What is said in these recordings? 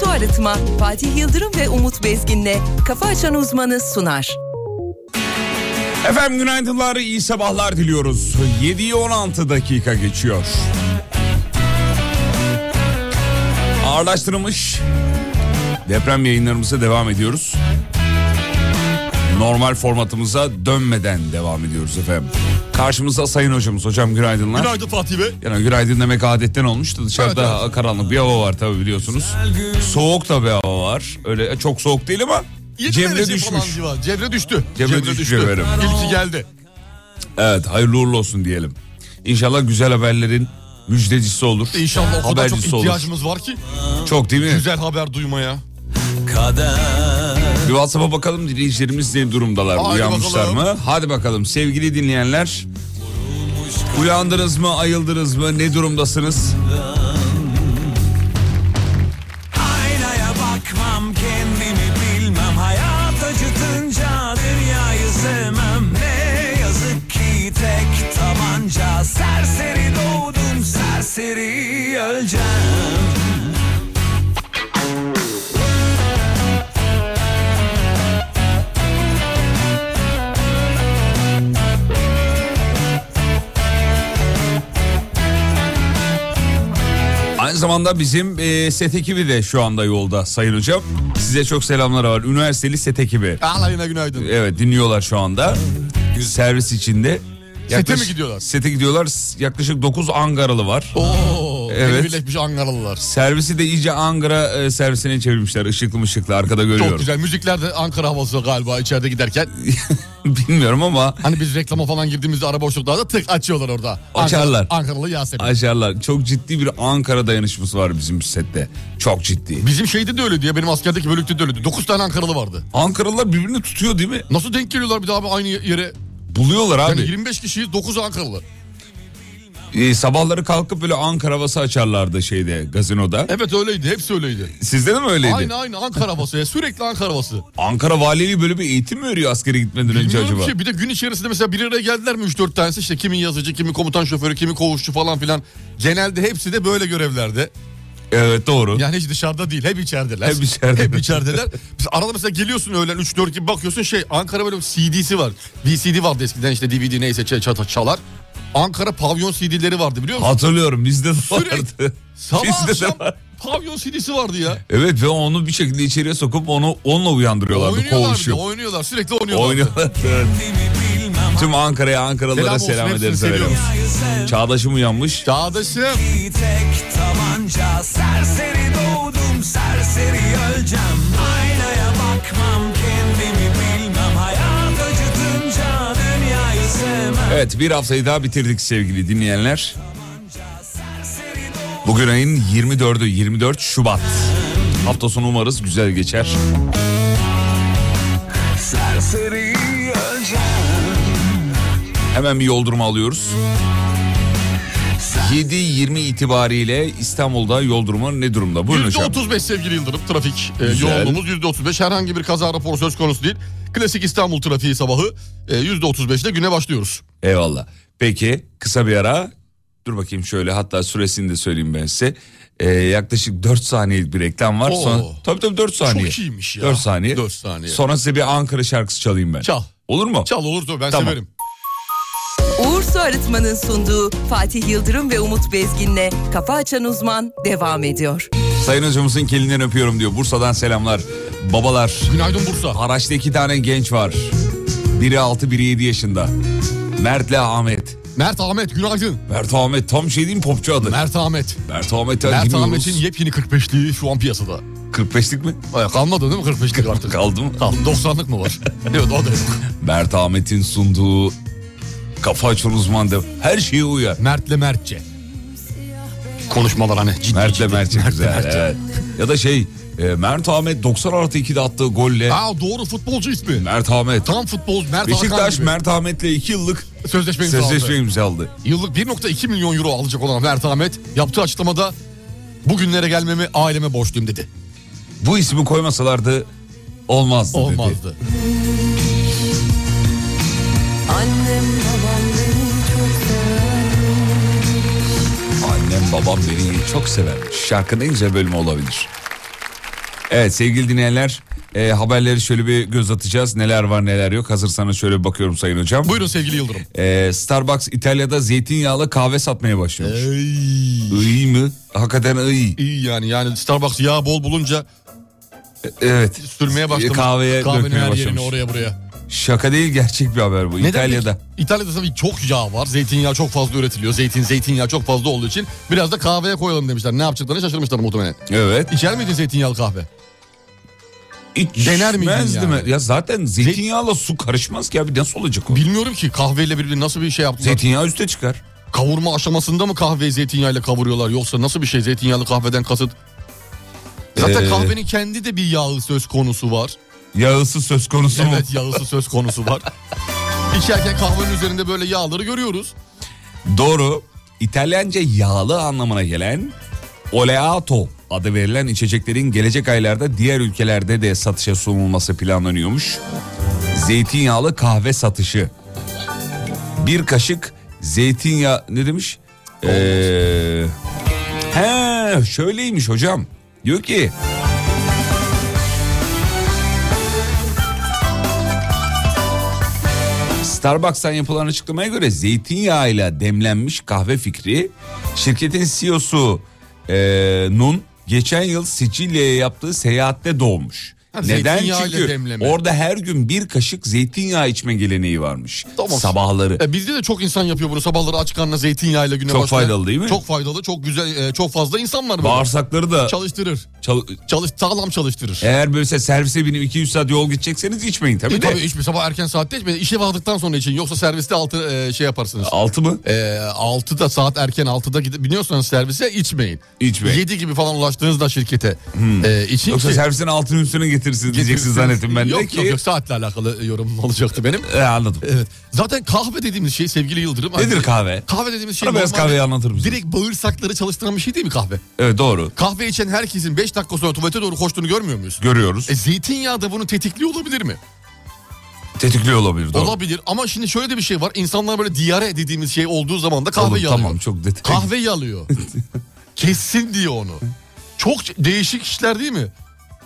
Su Arıtma Fatih Yıldırım ve Umut Bezgin'le Kafa Açan Uzmanı sunar. Efendim günaydınlar, iyi sabahlar diliyoruz. 7'yi 16 dakika geçiyor. Ağırlaştırılmış deprem yayınlarımıza devam ediyoruz. Normal formatımıza dönmeden devam ediyoruz efendim. Karşımızda sayın hocamız. Hocam günaydınlar. Günaydın Fatih Bey. Yani günaydın demek adetten olmuştu. Dışarıda karanlık bir hava var tabii biliyorsunuz. Soğuk da bir hava var. Öyle e, çok soğuk değil ama Yedi cemre derece falan düşmüş. civar. Cemre düştü. Cemre düştü efendim. İlki geldi. Evet hayırlı uğurlu olsun diyelim. İnşallah güzel haberlerin müjdecisi olur. İnşallah o kadar çok Habercisi olur. ihtiyacımız var ki Çok değil mi? güzel haber duymaya. Bir WhatsApp'a bakalım dinleyicilerimiz ne durumdalar, Haydi uyanmışlar bakalım. mı? Hadi bakalım sevgili dinleyenler. Uyandınız mı, ayıldınız mı, ne durumdasınız? Aynaya bakmam kendimi bilmem Hayat acıtınca dünyayı sevmem Ne yazık ki tek tabanca Serseri doğdum serseri öleceğim Aynı zamanda bizim e, set ekibi de şu anda yolda sayın hocam. Size çok selamlar var. Üniversiteli set ekibi. Alayına günaydın. Evet dinliyorlar şu anda. Servis içinde. mi gidiyorlar? Sete gidiyorlar. S- Yaklaşık 9 Angaralı var. Oo, Evet. evet. birleşmiş Ankaralılar. Servisi de iyice Ankara e, servisine çevirmişler. Işıklı mışıklı arkada görüyorum. Çok güzel. Müzikler de Ankara havası galiba içeride giderken. Bilmiyorum ama Hani biz reklama falan girdiğimizde ara boşluklarda tık açıyorlar orada. Açarlar. Ankara- Ankaralı Yasemin. aşarlar. Çok ciddi bir Ankara dayanışması var bizim sette. Çok ciddi. Bizim şeyde de öyle diye benim askerdeki bölükte de öyleydi. 9 tane Ankaralı vardı. Ankaralılar birbirini tutuyor değil mi? Nasıl denk geliyorlar bir daha abi aynı yere? Buluyorlar abi. Yani 25 kişiyiz 9 Ankaralı. E, sabahları kalkıp böyle Ankara havası açarlardı şeyde gazinoda. Evet öyleydi hepsi öyleydi. Sizde de mi öyleydi? Aynı aynı Ankara havası ya sürekli Ankara havası. Ankara valiliği böyle bir eğitim mi veriyor askere gitmeden önce Bilmiyorum acaba? ki Şey, bir de gün içerisinde mesela bir araya geldiler mi 3-4 tanesi işte kimin yazıcı, kimin komutan şoförü, kimin koğuşçu falan filan. Genelde hepsi de böyle görevlerde. Evet doğru. Yani hiç dışarıda değil hep içerideler. Hep içeride. Hep içerideler. Biz arada mesela geliyorsun öğlen 3-4 gibi bakıyorsun şey Ankara böyle bir CD'si var. VCD vardı eskiden işte DVD neyse ç- ç- çalar. Ankara pavyon CD'leri vardı biliyor musun? Hatırlıyorum bizde de Sürekli. vardı. Sabah Bizde de akşam var. pavyon CD'si vardı ya. Evet ve onu bir şekilde içeriye sokup onu onunla uyandırıyorlardı Oynuyorlar bir de, koğuşu. oynuyorlar sürekli oynuyorlar. Oynuyorlar. Evet. Kendimi bilmem Tüm Ankara'ya Ankaralılara Selam olsun, selam, hepsini ederiz efendim. seviyoruz. Dünyayı sevmem Çağdaşım uyanmış. Çağdaşım. ki tek tabanca Serseri doğdum serseri öleceğim Aynaya bakmam kendimi bilmem Hayat acıtınca dünyayı sevmem Evet bir haftayı daha bitirdik sevgili dinleyenler. Bugün ayın 24'ü 24 Şubat. Hafta sonu umarız güzel geçer. Serseri öleceğim Hemen bir yoldurma alıyoruz. 7.20 itibariyle İstanbul'da yoldurma ne durumda? Buyurun hocam. %35 sevgili Yıldırım trafik e, Güzel. yoğunluğumuz %35 herhangi bir kaza raporu söz konusu değil. Klasik İstanbul trafiği sabahı e, %35'le güne başlıyoruz. Eyvallah. Peki kısa bir ara. Dur bakayım şöyle hatta süresini de söyleyeyim ben size. Ee, yaklaşık 4 saniyelik bir reklam var. Oo. Sonra, tabii tabii 4 saniye. Çok iyiymiş ya. 4 saniye. 4 saniye. Sonra size bir Ankara şarkısı çalayım ben. Çal. Olur mu? Çal olur tabii ben Tamam. severim. Uğur Su Arıtma'nın sunduğu Fatih Yıldırım ve Umut Bezgin'le Kafa Açan Uzman devam ediyor. Sayın hocamızın kelinden öpüyorum diyor. Bursa'dan selamlar. Babalar. Günaydın Bursa. Araçta iki tane genç var. Biri 6 biri 7 yaşında. Mert'le Ahmet. Mert Ahmet günaydın. Mert Ahmet tam şey değil mi popçu adı? Mert, Mert Ahmet. Ahmet'e Mert dinliyoruz. Ahmet'in yepyeni 45'liği şu an piyasada. 45'lik mi? Ay, kalmadı değil mi 45'lik artık? Kaldı mı? Kaldı 90'lık mı var? evet o da yok. Mert Ahmet'in sunduğu kafa açan uzman da her şeye uyar. Mert'le Mertçe. Konuşmalar hani ciddi Mert'le ciddi. Mert'e güzel. evet. Ya da şey e, Mert Ahmet 90 artı 2'de attığı golle Aa, doğru futbolcu ismi. Mert Ahmet. Tam futbolcu Mert Hakan Beşiktaş gibi. Mert Ahmet'le 2 yıllık Sözleşmeyi imzaladı. sözleşme imzaladı. Yıllık 1.2 milyon euro alacak olan Mert Ahmet yaptığı açıklamada bugünlere gelmemi aileme borçluyum dedi. Bu ismi koymasalardı olmazdı, dedi. Olmazdı. Annem babam beni çok Annem babam beni çok sever. Şarkının en güzel bölümü olabilir. Evet sevgili dinleyenler e, haberleri şöyle bir göz atacağız. Neler var neler yok. Hazırsanız şöyle bir bakıyorum Sayın Hocam. Buyurun sevgili Yıldırım. E, Starbucks İtalya'da zeytinyağlı kahve satmaya başlıyormuş. Ey, İyi mi? Hakikaten iyi. iyi yani yani Starbucks yağ bol bulunca Evet. sürmeye başlamış. Kahveye Kahvenin dökmeye her yerine başlamış. oraya buraya. Şaka değil gerçek bir haber bu. Neden İtalya'da. peki? İtalya'da tabii çok yağ var. Zeytinyağı çok fazla üretiliyor. Zeytin, zeytinyağı çok fazla olduğu için biraz da kahveye koyalım demişler. Ne yapacaklarını şaşırmışlar muhtemelen. Evet. İçer miydin zeytinyağlı kahve? İç- Dener miydin içmezdi yani? mi? Ya zaten zeytinyağla su karışmaz ki abi nasıl olacak o? Bilmiyorum ki kahveyle birbirine nasıl bir şey yaptılar. Zeytinyağı üste çıkar. Kavurma aşamasında mı kahveyi zeytinyağıyla kavuruyorlar yoksa nasıl bir şey zeytinyağlı kahveden kasıt? Zaten Ee, kahvenin kendi de bir yağı söz konusu var. Yağısı söz konusu mu? Evet yağısı söz konusu var. İçerken kahvenin üzerinde böyle yağları görüyoruz. Doğru. İtalyanca yağlı anlamına gelen oleato adı verilen içeceklerin gelecek aylarda diğer ülkelerde de satışa sunulması planlanıyormuş. Zeytinyağlı kahve satışı. Bir kaşık zeytinyağı ne demiş? Ee, he şöyleymiş hocam. Diyor ki Starbucks'tan yapılan açıklamaya göre zeytinyağıyla demlenmiş kahve fikri şirketin CEO'su e, Nun geçen yıl Sicilya'ya yaptığı seyahatte doğmuş. Ha, Neden? zeytinyağıyla Çünkü demleme. orada her gün bir kaşık zeytinyağı içme geleneği varmış. Tamam. Sabahları. E, bizde de çok insan yapıyor bunu sabahları aç karnına zeytinyağıyla güne Çok başlayan. faydalı değil mi? Çok faydalı, çok güzel, e, çok fazla insan var. böyle. Bağırsakları da Çalıştırır. çal- Çalış, sağlam çalıştırır. eğer böylese servise binip 200 saat yol gidecekseniz içmeyin tabii E, de. tabii hiçbir sabah erken saatte içmeyin. İşe vardıktan sonra için yoksa serviste altı e, şey yaparsınız. Altı mı? E, 6'da saat erken 6'da gidip biniyorsanız servise içmeyin. İçmeyin. Hmm. 7 gibi falan ulaştığınızda şirkete e, için Yoksa ki- servisin altını üstüne getirsin diyeceksin Getirsiniz. zannettim ben de yok, ki. Yok yok saatle alakalı yorum olacaktı benim. E, anladım. Evet. Zaten kahve dediğimiz şey sevgili Yıldırım. Nedir kahve? Kahve dediğimiz şey Bana biraz normalde kahveyi anlatır mısın? Direkt bağırsakları çalıştıran bir şey değil mi kahve? Evet doğru. Kahve içen herkesin 5 dakika sonra tuvalete doğru koştuğunu görmüyor muyuz? Görüyoruz. E zeytinyağı da bunu tetikliyor olabilir mi? Tetikliyor olabilir. Doğru. Olabilir ama şimdi şöyle de bir şey var. İnsanlar böyle diyare dediğimiz şey olduğu zaman da kahve Oğlum, yalıyor. Tamam çok detay. Kahve yalıyor. Kessin diyor onu. Çok değişik işler değil mi?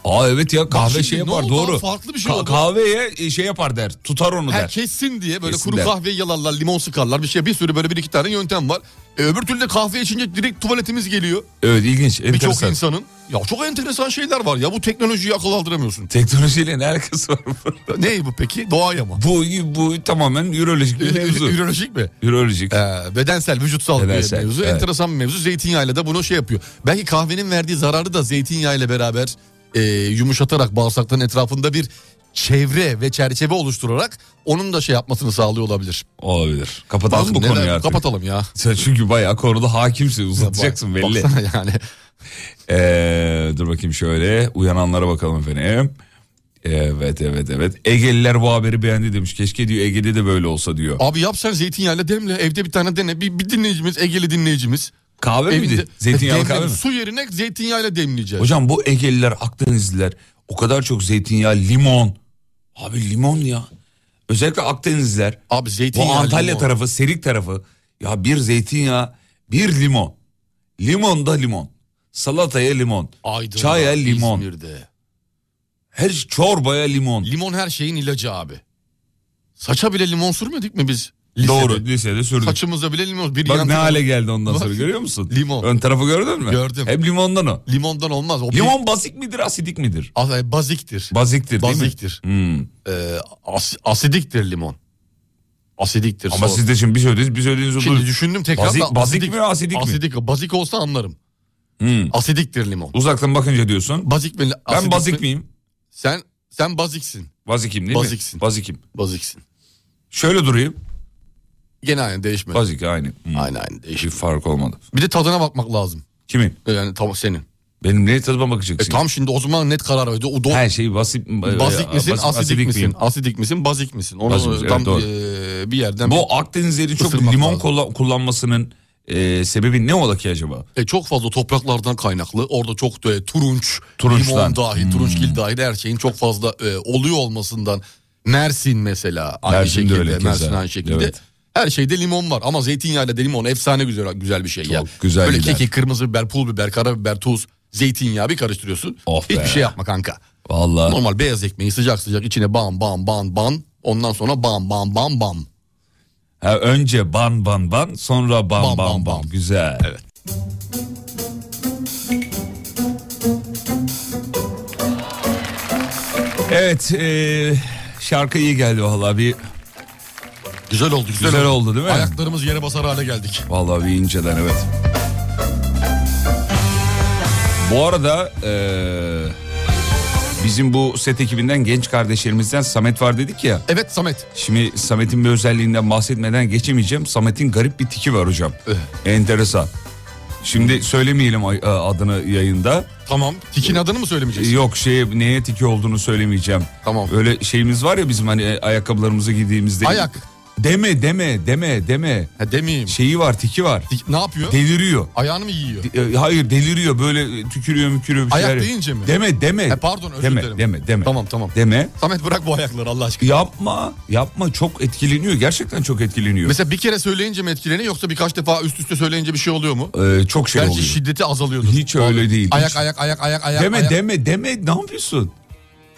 Aa evet ya kahve şimdi şey ne yapar oldu? doğru. Farklı bir şey oldu. Kahveye e, şey yapar der. Tutar onu Her der. kessin diye böyle Kessin kuru der. kahveyi yalarlar, limon sıkarlar bir şey. Bir sürü böyle bir iki tane yöntem var. E, öbür türlü de kahve içince direkt tuvaletimiz geliyor. Evet ilginç Birçok enteresan. insanın. Ya çok enteresan şeyler var ya bu teknolojiyi akıl aldıramıyorsun. Teknolojiyle ne alakası var bunun? ne bu peki? Doğaya mı? bu? bu tamamen ürolojik bir mevzu. Ürolojik mi? Ürolojik. Ee, bedensel, vücutsal Bedensel, bir mevzu. evet. Enteresan bir mevzu. Zeytinyağıyla da bunu şey yapıyor. Belki kahvenin verdiği zararı da zeytinyağıyla beraber e, yumuşatarak bağırsakların etrafında bir çevre ve çerçeve oluşturarak onun da şey yapmasını sağlıyor olabilir. Olabilir. Kapatalım bu Neler- konuyu artık. Kapatalım ya. Sen çünkü bayağı konuda hakimsin uzatacaksın Bak- belli. Baksana yani. Ee, dur bakayım şöyle uyananlara bakalım efendim. Evet evet evet. Egeliler bu haberi beğendi demiş. Keşke diyor Ege'de de böyle olsa diyor. Abi yap sen zeytinyağıyla demle. Evde bir tane dene. Bir, bir dinleyicimiz, Egeli dinleyicimiz. Kahve miydi? Zeytinyağlı kahve mi? Su yerine zeytinyağıyla demleyeceğiz. Hocam bu Egeliler, Akdenizliler o kadar çok zeytinyağı, limon. Abi limon ya. Özellikle Akdenizliler. Abi Bu zeytinyağı. Antalya limon. tarafı, Serik tarafı. Ya bir zeytinyağı, bir limon. Limon da limon. Salataya limon. Aydın'da, Çaya limon. İzmir'de. Her şey, çorbaya limon. Limon her şeyin ilacı abi. Saça bile limon sürmedik mi biz? Lisede. Doğru lisede sürdük. Saçımıza bile limon. Bir Bak yan- ne hale geldi ondan Bak. sonra görüyor musun? Limon. Ön tarafı gördün mü? Gördüm. Hep limondan o. Limondan olmaz. O bir- Limon bazik midir asidik midir? As- e, Baziktir. Baziktir değil mi? Baziktir. Hmm. Ee, as- asidiktir limon. Asidiktir. Ama Sonra- siz de şimdi bir söylediğiniz bir söylediğiniz Şimdi oldu. düşündüm tekrar Bazik- bazik da mi, asidik mi? Asidik. Bazik olsa anlarım. Hmm. Asidiktir limon. Uzaktan bakınca diyorsun. Bazik mi? asidik ben bazik mi? miyim? Sen sen baziksin. Bazikim değil Baziksin. mi? Bazikim. Baziksin. Şöyle durayım. Gene aynı değişmedi. Bazik aynı. Hmm. Aynı aynı Bir değişik. fark olmadı. Bir de tadına bakmak lazım. Kimin? Yani tam senin. Benim neye tadıma E bakacaksın? tam şimdi o zaman net karar verdi. O do- Her şey basit. Ee, bazik misin, basit- asidik, misin? miyim? Asidik misin, bazik misin? Onu Bazik misin, tam evet, doğru. e, bir yerden Bu Akdenizlerin çok Isırmak limon lazım. kulla- kullanmasının e, sebebi ne ola ki acaba? E, çok fazla topraklardan kaynaklı. Orada çok da turunç, Turunçtan. Hmm. limon dahil, turunçgil dahil her şeyin çok fazla e, oluyor olmasından. Mersin mesela aynı Mersin de şekilde. öyle keza. Mersin aynı şekilde. Evet. Her şeyde limon var ama zeytinyağıyla de limon efsane güzel güzel bir şey ya. güzel Böyle gider. kekik, kırmızı biber, pul biber, karabiber, tuz. zeytinyağı bir karıştırıyorsun. Of be. Hiçbir şey yapma kanka. Vallahi. Normal beyaz ekmeği sıcak sıcak içine bam bam bam bam. Ondan sonra bam bam bam bam. Ha, önce ban ban ban sonra ban ban Ban, ban. ban, ban. Güzel. Evet. Evet e, şarkı iyi geldi vallahi bir Güzel oldu güzel, Güzel oldu değil mi? Ayaklarımız yere basar hale geldik. vallahi bir inceden evet. Bu arada e, bizim bu set ekibinden genç kardeşlerimizden Samet var dedik ya. Evet Samet. Şimdi Samet'in bir özelliğinden bahsetmeden geçemeyeceğim. Samet'in garip bir tiki var hocam. Eh. Enteresan. Şimdi söylemeyelim ay- e, adını yayında. Tamam. Tikin adını mı söylemeyeceksin? Yok şey neye tiki olduğunu söylemeyeceğim. Tamam. Öyle şeyimiz var ya bizim hani e, ayakkabılarımızı giydiğimizde. Ayak. Deme deme deme deme. Ha, demeyeyim. Şeyi var tiki var. Tik- ne yapıyor? Deliriyor. Ayağını mı yiyor? E, Hayır deliriyor böyle tükürüyor mükürüyor bir Ayak şeyler. deyince mi? Deme deme. He, pardon, özür deme, dilerim. Deme deme. Tamam, tamam. Deme. Samet bırak bu ayakları Allah aşkına. Yapma yapma çok etkileniyor gerçekten çok etkileniyor. Mesela bir kere söyleyince mi etkileniyor yoksa birkaç defa üst üste söyleyince bir şey oluyor mu? Ee, çok şey Belki oluyor. şiddeti azalıyordur. Hiç öyle değil. Ayak Hiç. ayak ayak ayak ayak. deme ayak. deme deme ne yapıyorsun?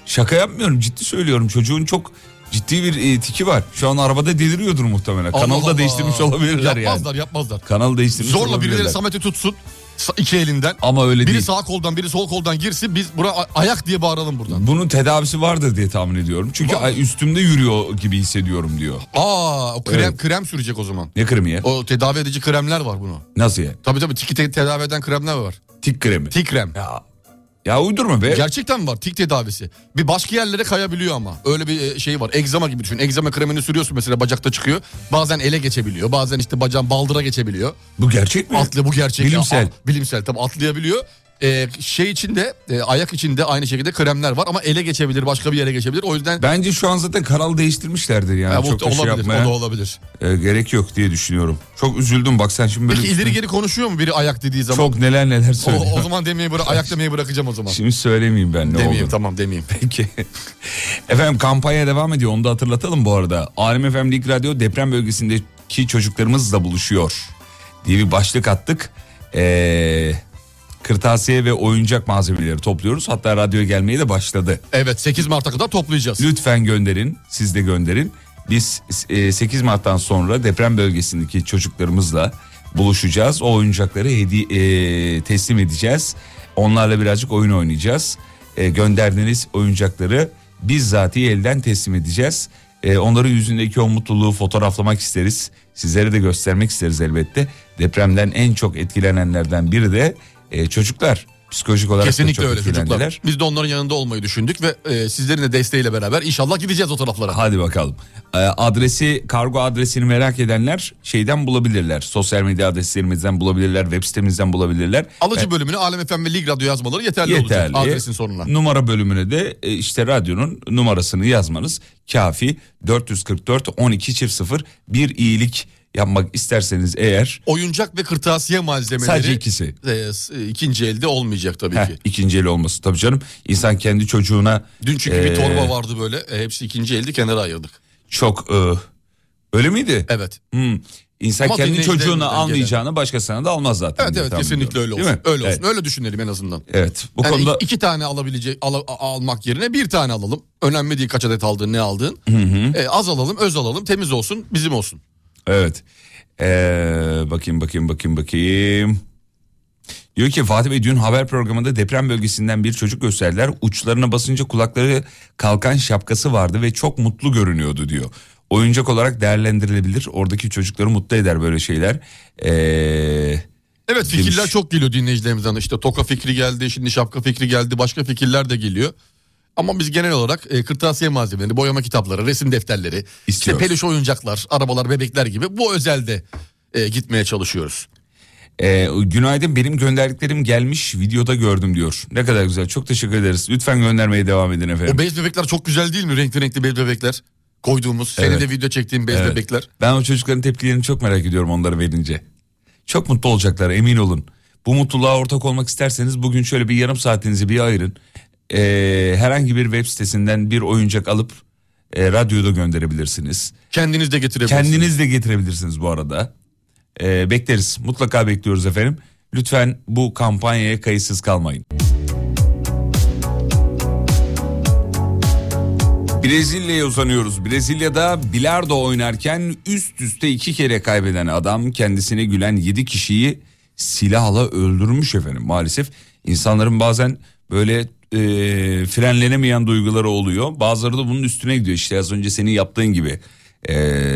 Şaka yapmıyorum ciddi söylüyorum çocuğun çok ciddi bir e, tiki var. Şu an arabada deliriyordur muhtemelen. Allah Kanalı da Allah. değiştirmiş olabilirler yani. Yapmazlar yapmazlar. Kanalı değiştirmiş Zorla olabilirler. birileri Samet'i tutsun sa- iki elinden. Ama öyle biri değil. sağ koldan biri sol koldan girsin biz buna a- ayak diye bağıralım buradan. Bunun tedavisi vardır diye tahmin ediyorum. Çünkü Var. ay, üstümde yürüyor gibi hissediyorum diyor. Aa o krem Evet. krem sürecek o zaman. Ne kremi ya? O tedavi edici kremler var bunu. Nasıl ya? Tabii tabii tiki te- tedavi eden kremler var. Tik kremi. Tik krem. Ya. ya uydurma be. Gerçekten mi var tik tedavisi. Bir başka yerlere kayabiliyor ama. Öyle bir e, şey var. Egzama gibi düşün. Egzama kremini sürüyorsun mesela bacakta çıkıyor. Bazen ele geçebiliyor. Bazen işte bacağın baldıra geçebiliyor. Bu gerçek mi? Atlı bu gerçek. Bilimsel. Ya, a- bilimsel tabii atlayabiliyor. Ee, şey içinde ayak içinde aynı şekilde kremler var ama ele geçebilir başka bir yere geçebilir. O yüzden Bence şu an zaten kanal değiştirmişlerdir yani. Ya bu- Çok da şey olabilir. yapmaya o da olabilir. e, gerek yok diye düşünüyorum. Çok üzüldüm bak sen şimdi böyle Peki ileri üstüne- geri konuşuyor mu biri ayak dediği zaman? Çok neler neler O, söylüyor. Şey o zaman demeyi bıra- ayak demeyi bırakacağım o zaman. Şimdi söylemeyeyim ben ne demeyeyim oldu. tamam demeyeyim. Peki. Efendim kampanya devam ediyor onu da hatırlatalım bu arada. Alem Efendim Lig Radyo deprem bölgesindeki çocuklarımızla buluşuyor diye bir başlık attık. Ee, kırtasiye ve oyuncak malzemeleri topluyoruz. Hatta radyoya gelmeye de başladı. Evet 8 Mart'a kadar toplayacağız. Lütfen gönderin siz de gönderin. Biz e, 8 Mart'tan sonra deprem bölgesindeki çocuklarımızla buluşacağız. O oyuncakları hediye e, teslim edeceğiz. Onlarla birazcık oyun oynayacağız. E, gönderdiğiniz oyuncakları bizzatihi elden teslim edeceğiz. E, onların yüzündeki o mutluluğu fotoğraflamak isteriz. Sizlere de göstermek isteriz elbette. Depremden en çok etkilenenlerden biri de e, çocuklar. Psikolojik olarak da Kesinlikle çok öyle etkilendiler. çocuklar. Biz de onların yanında olmayı düşündük ve e, sizlerin de desteğiyle beraber inşallah gideceğiz o taraflara. Hadi bakalım. Ee, Adresi kargo adresini merak edenler şeyden bulabilirler. Sosyal medya adreslerimizden bulabilirler, web sitemizden bulabilirler. Alıcı bölümüne Alem FM ve Lig Radyo yazmaları yeterli, Yeterli. olacak adresin sonuna. Numara bölümüne de e, işte radyonun numarasını yazmanız kafi. 444 12 çift 0 bir iyilik yapmak isterseniz eğer Oyuncak ve kırtasiye malzemeleri sadece ikisi. e, s- e, ikinci elde olmayacak tabii Heh, ki. ikinci el olması tabii canım. İnsan kendi çocuğuna Dün çünkü Ee, bir torba vardı böyle. e, hepsi ikinci elde kenara ayırdık. çok e, öyle miydi? Evet. Hmm. İnsan Ama kendi dinleyicilerimizden çocuğuna gelen. anlayacağını başkasına da almaz zaten. Evet diye evet tahmin kesinlikle öyle ediyorum. olsun. Değil mi? Öyle Evet. olsun. Öyle düşünelim en azından. Evet bu Yani konuda iki, iki tane alabilecek al- a- almak yerine bir tane alalım. Önemli değil kaç adet aldın ne aldın. E, az alalım öz alalım temiz olsun bizim olsun. evet Ee, bakayım bakayım bakayım bakayım. Diyor ki Fatih Bey dün haber programında deprem bölgesinden bir çocuk gösterdiler. Uçlarına basınca kulakları kalkan şapkası vardı ve çok mutlu görünüyordu diyor. Oyuncak olarak değerlendirilebilir. Oradaki çocukları mutlu eder böyle şeyler. Ee, Evet Demiş. fikirler çok geliyor dinleyicilerimizden. İşte toka fikri geldi, şimdi şapka fikri geldi, başka fikirler de geliyor. Ama biz genel olarak e, kırtasiye malzemeleri, boyama kitapları, resim defterleri, işte İstiyoruz. peluş oyuncaklar, arabalar, bebekler gibi bu özelde e, gitmeye çalışıyoruz. Ee, günaydın benim gönderdiklerim gelmiş videoda gördüm diyor. Ne kadar güzel çok teşekkür ederiz. Lütfen göndermeye devam edin efendim. O bez bebekler çok güzel değil mi? Renkli renkli bez bebekler koyduğumuz, Evet. senin de video çektiğin bez Evet. bebekler. Ben o çocukların tepkilerini çok merak ediyorum onları verince. Çok mutlu olacaklar emin olun. Bu mutluluğa ortak olmak isterseniz bugün şöyle bir yarım saatinizi bir ayırın. Ee, herhangi bir web sitesinden bir oyuncak alıp e, radyoda gönderebilirsiniz. Kendiniz de getirebilirsiniz. Kendiniz de getirebilirsiniz bu arada. Ee, bekleriz mutlaka bekliyoruz efendim. Lütfen bu kampanyaya kayıtsız kalmayın. Brezilya'ya uzanıyoruz. Brezilya'da bilardo oynarken üst üste iki kere kaybeden adam kendisine gülen yedi kişiyi silahla öldürmüş efendim maalesef. insanların bazen böyle e, frenlenemeyen duyguları oluyor. Bazıları da bunun üstüne gidiyor. İşte az önce senin yaptığın gibi e,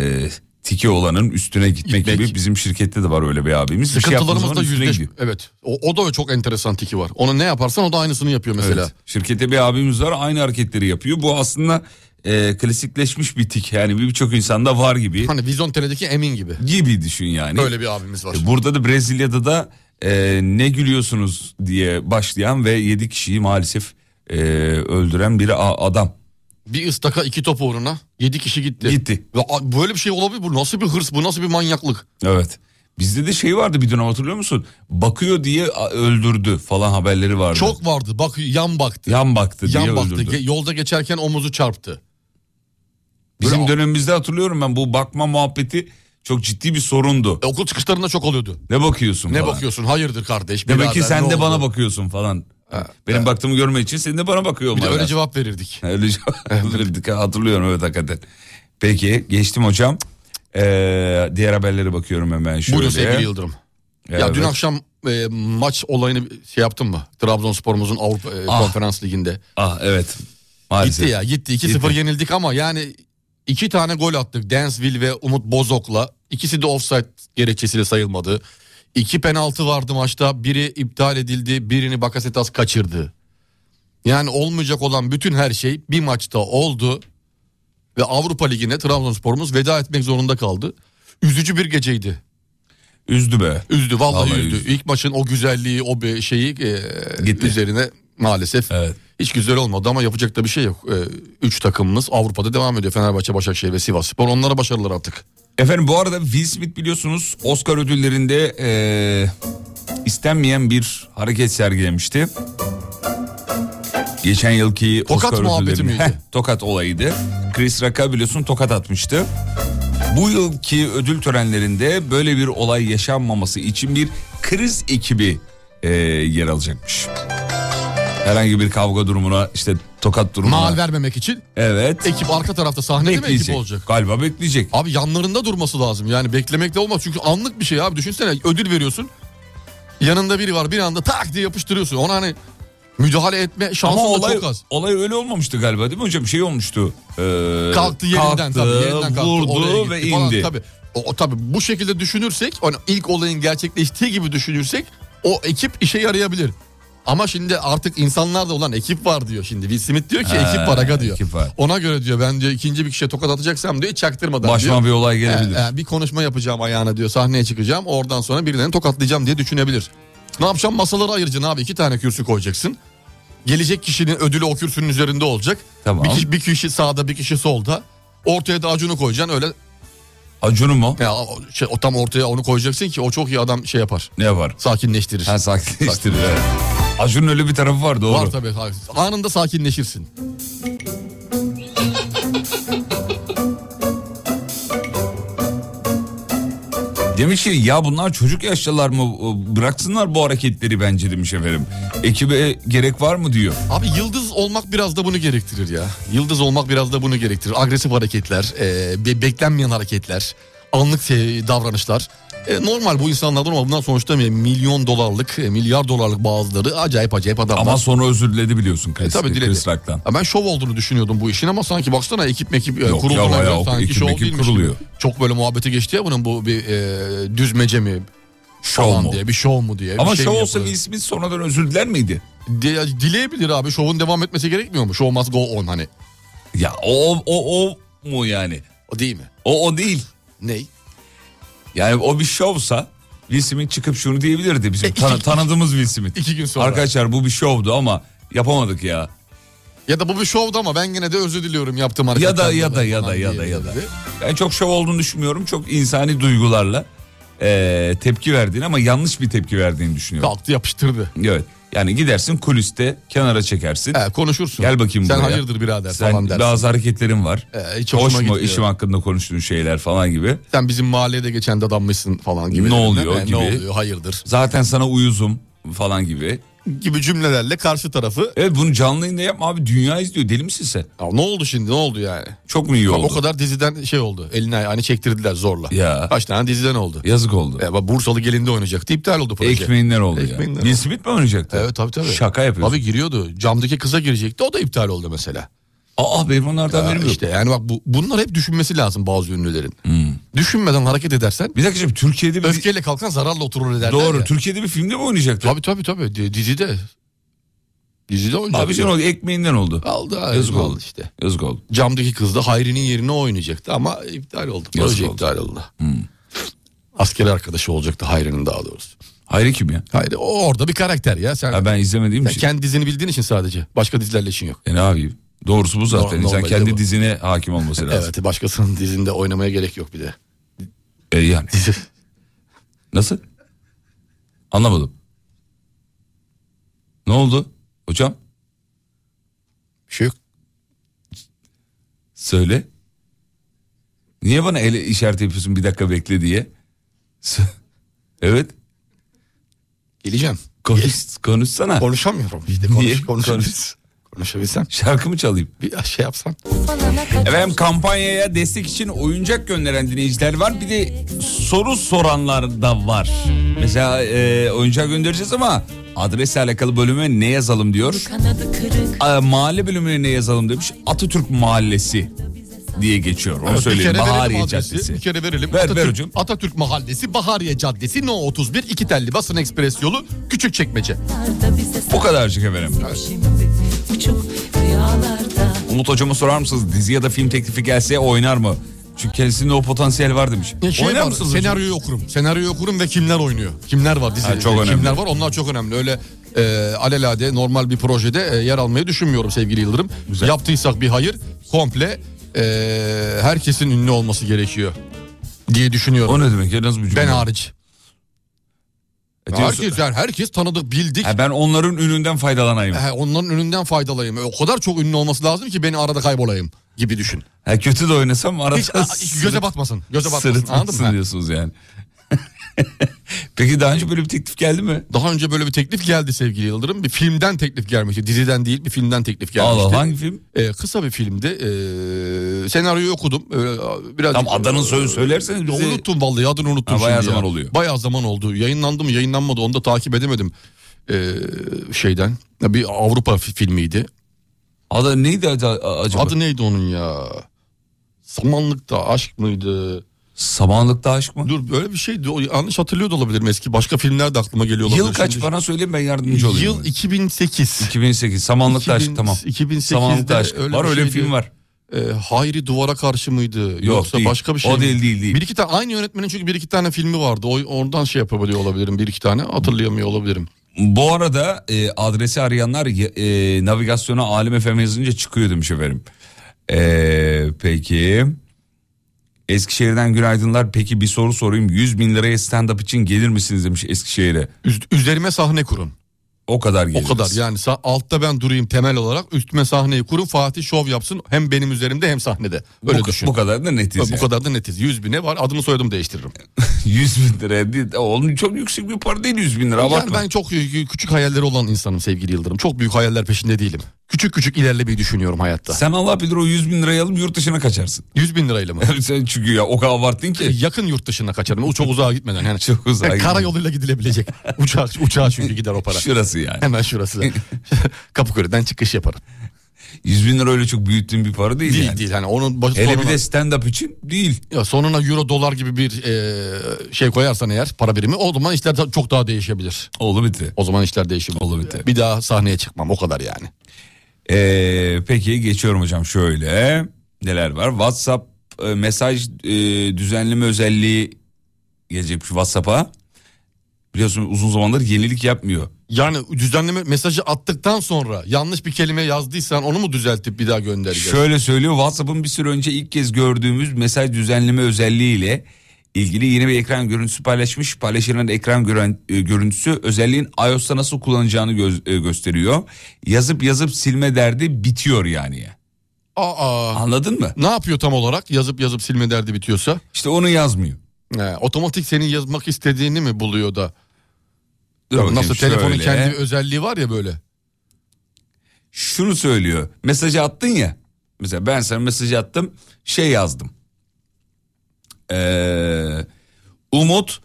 tiki olanın üstüne gitmek, Gitmek. gibi bizim şirkette de var öyle bir abimiz. Bir şey yaptığımız Sıkıntılarımızda zaman üstüne yüzleş. gidiyor. Evet. O, o da çok enteresan tiki var. Onu ne yaparsan o da aynısını yapıyor mesela. Evet. Şirkette bir abimiz var aynı hareketleri yapıyor. Bu aslında e, klasikleşmiş bir tik yani birçok insanda var gibi. Hani Vizyon Tele'deki Emin gibi. Gibi düşün yani. Böyle bir şey. abimiz var. E, Burada da Brezilya'da da e, ne gülüyorsunuz diye başlayan ve 7 kişiyi maalesef e, öldüren bir a- adam. Bir ıstaka iki top uğruna yedi kişi gitti. Gitti. Ya, a- böyle bir şey olabilir bu nasıl bir hırs bu nasıl bir manyaklık. Evet. Bizde de şey vardı bir dönem hatırlıyor musun? Bakıyor diye a- öldürdü falan haberleri vardı. Çok vardı bak yan baktı. yan baktı diye yan baktı öldürdü. Ge- yolda geçerken omuzu çarptı. Bizim Böyle- dönemimizde hatırlıyorum ben bu bakma muhabbeti çok ciddi bir sorundu. E, okul çıkışlarında çok oluyordu. Ne bakıyorsun? Ne falan. bakıyorsun hayırdır kardeş. Demek birader, ki sen ne de oldu? bana bakıyorsun falan. Benim baktığımı görmek için senin de bana bakıyor Bir de olman öyle lazım. cevap verirdik. Öyle cevap verirdik, hatırlıyorum evet hakikaten. Peki geçtim hocam. Ee, diğer haberlere bakıyorum hemen şöyle. Buyurun sevgili Yıldırım. Ya dün Evet. akşam e, maç olayını şey yaptın mı? Trabzonspor'umuzun Avrupa e, Ah. Konferans Ligi'nde. Ah evet. Maalesef. Gitti ya gitti. 2-0 Gitti. yenildik ama yani iki tane gol attık. Densville ve Umut Bozok'la. İkisi de offside gerekçesiyle sayılmadı. İki penaltı vardı maçta. Biri iptal edildi. Birini Bakasetas kaçırdı. Yani olmayacak olan bütün her şey bir maçta oldu. Ve Avrupa Ligi'ne Trabzonspor'umuz veda etmek zorunda kaldı. Üzücü bir geceydi. Üzdü be. Üzdü vallahi, Vallahi üzdü. üzdü. İlk maçın o güzelliği o be- şeyi e, Gitti. üzerine maalesef Evet. hiç güzel olmadı ama yapacak da bir şey yok. E, üç takımımız Avrupa'da devam ediyor. Fenerbahçe, Başakşehir ve Sivas Spor. Onlara başarılar artık. Efendim bu arada Will Smith biliyorsunuz Oscar ödüllerinde eee, istenmeyen bir hareket sergilemişti. Geçen yılki Tokat Oscar muhabbeti ödüllerinde- miydi? Heh, tokat olayıydı. Chris Rock'a biliyorsun tokat atmıştı. Bu yılki ödül törenlerinde böyle bir olay yaşanmaması için bir kriz ekibi eee, yer alacakmış. Herhangi bir kavga durumuna işte tokat durumuna. Mal vermemek için Evet. ekip arka tarafta sahnede mi ekip Bekleyecek. olacak? Galiba bekleyecek. Abi yanlarında durması lazım. Yani beklemekle olmaz. Çünkü anlık bir şey abi. Düşünsene ödül veriyorsun. Yanında biri var bir anda tak diye yapıştırıyorsun. Ona hani müdahale etme şansın Ama da olay, çok az. olay öyle olmamıştı galiba değil mi hocam? Şey olmuştu. ee, kalktı yerinden kalktı, tabii yerinden kalktı. oraya Vurdu gitti ve falan. indi. Tabii. O, o tabii bu şekilde düşünürsek hani ilk olayın gerçekleştiği gibi düşünürsek o ekip işe yarayabilir. Ama şimdi artık insanlar da ulan ekip var diyor şimdi. Will Smith diyor ki Ha, ekip var aga diyor. ekip var. Ona göre diyor ben diyor ikinci bir kişiye tokat atacaksam diyor hiç çaktırmadan diyor. Başıma bir olay gelebilir. "Ee, e, bir konuşma yapacağım ayağına diyor sahneye çıkacağım oradan sonra birilerini tokatlayacağım diye düşünebilir. Ne yapacağım masaları ayıracaksın abi iki tane kürsü koyacaksın. Gelecek kişinin ödülü o kürsünün üzerinde olacak. Tamam. Bir, kişi, bir kişi sağda bir kişi solda. Ortaya da Acun'u koyacaksın öyle Acun'u mu? ya, o- şey, o tam ortaya onu koyacaksın ki o çok iyi adam şey yapar. Ne yapar? Sakinleştirir. Ha sakinleştirir. evet. Acun'un öyle bir tarafı var doğru. Var tabii. tabii. Anında sakinleşirsin. Demiş ki ya bunlar çocuk yaşlılar mı? Ee, Bıraksınlar bu hareketleri bence demiş efendim. Ekibe gerek var mı diyor. Abi yıldız olmak biraz da bunu gerektirir ya. Yıldız olmak biraz da bunu gerektirir. Agresif hareketler, e, be- beklenmeyen hareketler, anlık se- davranışlar. E, normal bu insanlardan ama bundan sonuçta mi- milyon dolarlık, e, milyar dolarlık bazıları acayip acayip adamlar. Ama sonra özür diledi biliyorsun Chris, E, tabii diledi. Chris Rock'tan. Ya Ben şov olduğunu düşünüyordum bu işin ama sanki baksana ekip mekip e, Yok kurulduğuna ya, göre bayağı sanki ekip şov mekip değilmiş kuruluyor. gibi. Çok böyle muhabbete geçti ya bunun bu bir e, düzmece mi Şov falan mu? diye bir şov mu diye. bir Ama şey şov mi olsa yapılır? Will Smith sonradan özür diler miydi? Di- dileyebilir abi şovun devam etmesi gerekmiyor mu? Show must go on hani. Ya o o o mu yani? O değil mi? O o değil. Ney? Yani o bir şovsa Will Smith çıkıp şunu diyebilirdi E, bizim tan- tanıdığımız Will Smith. İki gün sonra. Arkadaşlar bu bir şovdu ama yapamadık ya. Ya da bu bir şovdu ama ben gene de özür diliyorum yaptığım hareketten. Ya da ya da dolayı ya falan da ya da ya da. diyebilirdi. Ben çok şov olduğunu düşünmüyorum. Çok insani duygularla e, tepki verdiğini ama yanlış bir tepki verdiğini düşünüyorum. Kalktı yapıştırdı. Evet. Yani gidersin kuliste kenara çekersin. He, konuşursun. Gel bakayım Sen buraya. hayırdır birader Sen falan dersin. bazı hareketlerin var. Ee, hiç Hoş hoşuma mu gitmiyor. işim hakkında konuştuğun şeyler falan gibi. Sen bizim mahallede geçen de adammışsın falan gibi. Ne oluyor He, gibi. Ne oluyor hayırdır. Zaten sana uyuzum falan gibi. Gibi cümlelerle karşı tarafı. Evet bunu canlı yayında yapma abi dünya izliyor deli misin sen? Ya ne oldu şimdi ne oldu yani? Çok mu iyi oldu? O kadar diziden şey oldu. Eline ayağını çektirdiler zorla. Ya. Kaç tane diziden oldu. Yazık oldu. E, bak Bursalı gelinde oynayacaktı. iptal oldu proje. Ekmeğinden oldu Ekmeğinden ya. Will Smith mi oynayacaktı? Evet tabii tabii. Şaka yapıyorsun. Abi giriyordu. Camdaki kıza girecekti. O da iptal oldu mesela. Aa benim onlardan Ya haberim yok. işte yani bak bu, bunlar hep düşünmesi lazım bazı ünlülerin. Hmm. Düşünmeden hareket edersen Bir dakika şimdi Türkiye'de bir... öfkeyle kalkan zararla oturur ederler Doğru. ya. Türkiye'de bir filmde mi oynayacaktı? Tabii tabii tabii Di- dizide. Dizide oynayacak. Abi sen oldu ekmeğinden oldu. Aldı. Yazık oldu. işte. Yazık oldu. Camdaki kız da Hayri'nin yerine oynayacaktı ama iptal oldu. Proje oldu. Hmm. iptal oldu. Asker arkadaşı olacaktı Hayri'nin daha doğrusu. Hayri kim ya? Hayri o orada bir karakter ya. Sen, Ha, ben izlemediğim sen için. kendi dizini bildiğin için sadece. Başka dizilerle işin yok. E ne yapayım? Doğrusu bu zaten. No- İnsan normalde kendi bu. dizine hakim olması lazım. Evet başkasının dizinde oynamaya gerek yok bir de. E yani. Nasıl? Anlamadım. Ne oldu? Hocam Bir şey yok. söyle. Niye bana el işareti yapıyorsun bir dakika bekle diye? Sö- evet. Geleceğim. Konuş, konuşsana. Konuşamıyorum. İşte Niye? konuş, Konuş. konuş. Konuşabilsem. Şarkı mı çalayım? Bir şey yapsam. Efendim kampanyaya destek için oyuncak gönderen dinleyiciler var. Bir de soru soranlar da var. Mesela e, oyuncak göndereceğiz ama adresle alakalı bölüme ne yazalım diyor. Kanadı kırık E, mahalle bölümüne ne yazalım demiş. Atatürk Mahallesi diye geçiyor. Onu Bir söyleyeyim. kere verelim Bahariye adresi, Caddesi. Bir kere verelim. Ver, ver Atatürk, hocam. Atatürk Mahallesi, Bahariye Caddesi, No 31, iki telli basın ekspres yolu, küçük çekmece. da bize Bu kadarcık efendim. sardı şimdi Uçup rüyalarda Umut hocama sorar mısınız? Dizi ya da film teklifi gelse oynar mı? Çünkü kendisinde o potansiyel şey var demiş. oynar E, şey var, mısınız? hocam? Senaryoyu okurum. Senaryoyu okurum ve kimler oynuyor? Kimler var dizide? Ha, çok kimler önemli. var? Onlar çok önemli. Öyle e, alelade normal bir projede e, yer almayı düşünmüyorum sevgili Yıldırım. Yaptıysak bir hayır komple e, herkesin ünlü olması gerekiyor diye düşünüyorum. O ne demek ya? Nasıl bir cümle? ben hariç. E, diyorsun- Herkes yani herkes tanıdık, bildik. Ha, ben onların ününden faydalanayım. He, onların önünden faydalayayım. E, O kadar çok ünlü olması lazım ki beni arada kaybolayım gibi düşün. Ha, kötü de oynasam arada Hiç, a- hiç göze batmasın. Göze batmasın. Anladın Sırıtmasın mı? diyorsunuz yani. Peki daha önce böyle bir teklif geldi mi? Daha önce böyle bir teklif geldi sevgili Yıldırım. Bir filmden teklif gelmişti. Diziden değil bir filmden teklif gelmişti. Allah hangi film? Ee, kısa bir filmdi. Ee, senaryoyu okudum. Ee, biraz Tam adının soyu söylerseniz bize- Unuttum vallahi adını unuttum. Ha, bayağı şimdi ya. zaman oluyor. Bayağı zaman oldu. Yayınlandı mı yayınlanmadı onu da takip edemedim. Ee, şeyden. Ya Bir Avrupa fi- filmiydi. Adı neydi adı- acaba? Adı neydi onun ya? Samanlıkta aşk mıydı? Samanlıkta aşk mı? Dur böyle bir şeydi. O yanlış hatırlıyor da olabilirim eski. Başka filmler de aklıma geliyor olabilir. Yıl kaç Şimdi- bana söyleyin ben yardımcı olayım. Yıl 2008. 2008 Samanlıkta aşk tamam. 2008'de Samanlıkta aşk. öyle var bir öyle şeydi. film var. Ee, Hayri duvara karşı mıydı? Yoksa değil. başka bir şey O mi? değil, değil, değil. Bir iki tane aynı yönetmenin çünkü bir iki tane filmi vardı. O, oradan şey yapabiliyor olabilirim. Bir iki tane hatırlayamıyor olabilirim. Bu arada e, adresi arayanlar y- e, navigasyona Alem FM yazınca çıkıyor demiş efendim. E, peki. Eskişehir'den günaydınlar. Peki bir soru sorayım. 100 bin liraya stand-up için gelir misiniz demiş Eskişehir'e. Üz- üzerime sahne kurun. O kadar O geliriz. kadar yani sa- altta ben durayım temel olarak üstüme sahneyi kurun Fatih şov yapsın hem benim üzerimde hem sahnede. Öyle bu, düşün. bu kadar da netiz. bu yani. kadar da netiz. 100 bine var adımı soyadımı değiştiririm. 100 bin liraya değil. E, Oğlum çok yüksek bir para değil 100 bin lira. Yani abartma. ben çok e, küçük hayalleri olan insanım sevgili Yıldırım. Çok büyük hayaller peşinde değilim. Küçük küçük ilerlemeyi düşünüyorum hayatta. Sen Allah bilir o 100 bin lirayı alıp yurt dışına kaçarsın. 100 bin lirayla mı? Sen çünkü ya o kadar abarttın E, ki. Yakın yurt dışına kaçarım. O çok uzağa gitmeden. Yani. Çok uzağa Yani gitmeden. Karayoluyla gidilebilecek. Uçağa, uçağa çünkü gider o para. Şurası yani. Hemen şurası. Kapıköy'den çıkış yaparım. 100 bin lira öyle çok büyüttüğün bir para değil, Değil yani. değil. Hani onun baş, Hele sonuna, bir de stand-up için değil. ya sonuna euro dolar gibi bir e, şey koyarsan eğer para birimi o zaman işler da- çok daha değişebilir. Oğlu bitti. O zaman işler değişebilir. Olur bir de. Bir daha sahneye çıkmam o kadar yani. Ee, peki geçiyorum hocam şöyle. Neler var? WhatsApp e, mesaj e, düzenleme özelliği gelecek WhatsApp'a. Biliyorsun uzun zamandır yenilik yapmıyor. Yani düzenleme mesajı attıktan sonra yanlış bir kelime yazdıysan onu mu düzeltip bir daha göndereceğiz? Şöyle söylüyor WhatsApp'ın bir süre önce ilk kez gördüğümüz mesaj düzenleme özelliğiyle ilgili yeni bir ekran görüntüsü paylaşmış. Paylaşılan ekran gören, e, görüntüsü özelliğin iOS'ta nasıl kullanacağını göz- e, gösteriyor. Yazıp yazıp silme derdi bitiyor yani. Aa. Anladın mı? Ne yapıyor tam olarak? Yazıp yazıp silme derdi bitiyorsa. İşte onu yazmıyor. He, otomatik senin yazmak istediğini mi buluyor da? Dur bakayım, Nasıl telefonun şöyle. kendi bir özelliği var ya böyle. şunu söylüyor. Mesajı attın ya. Mesela ben sana mesajı attım. Şey yazdım. Ee, Umut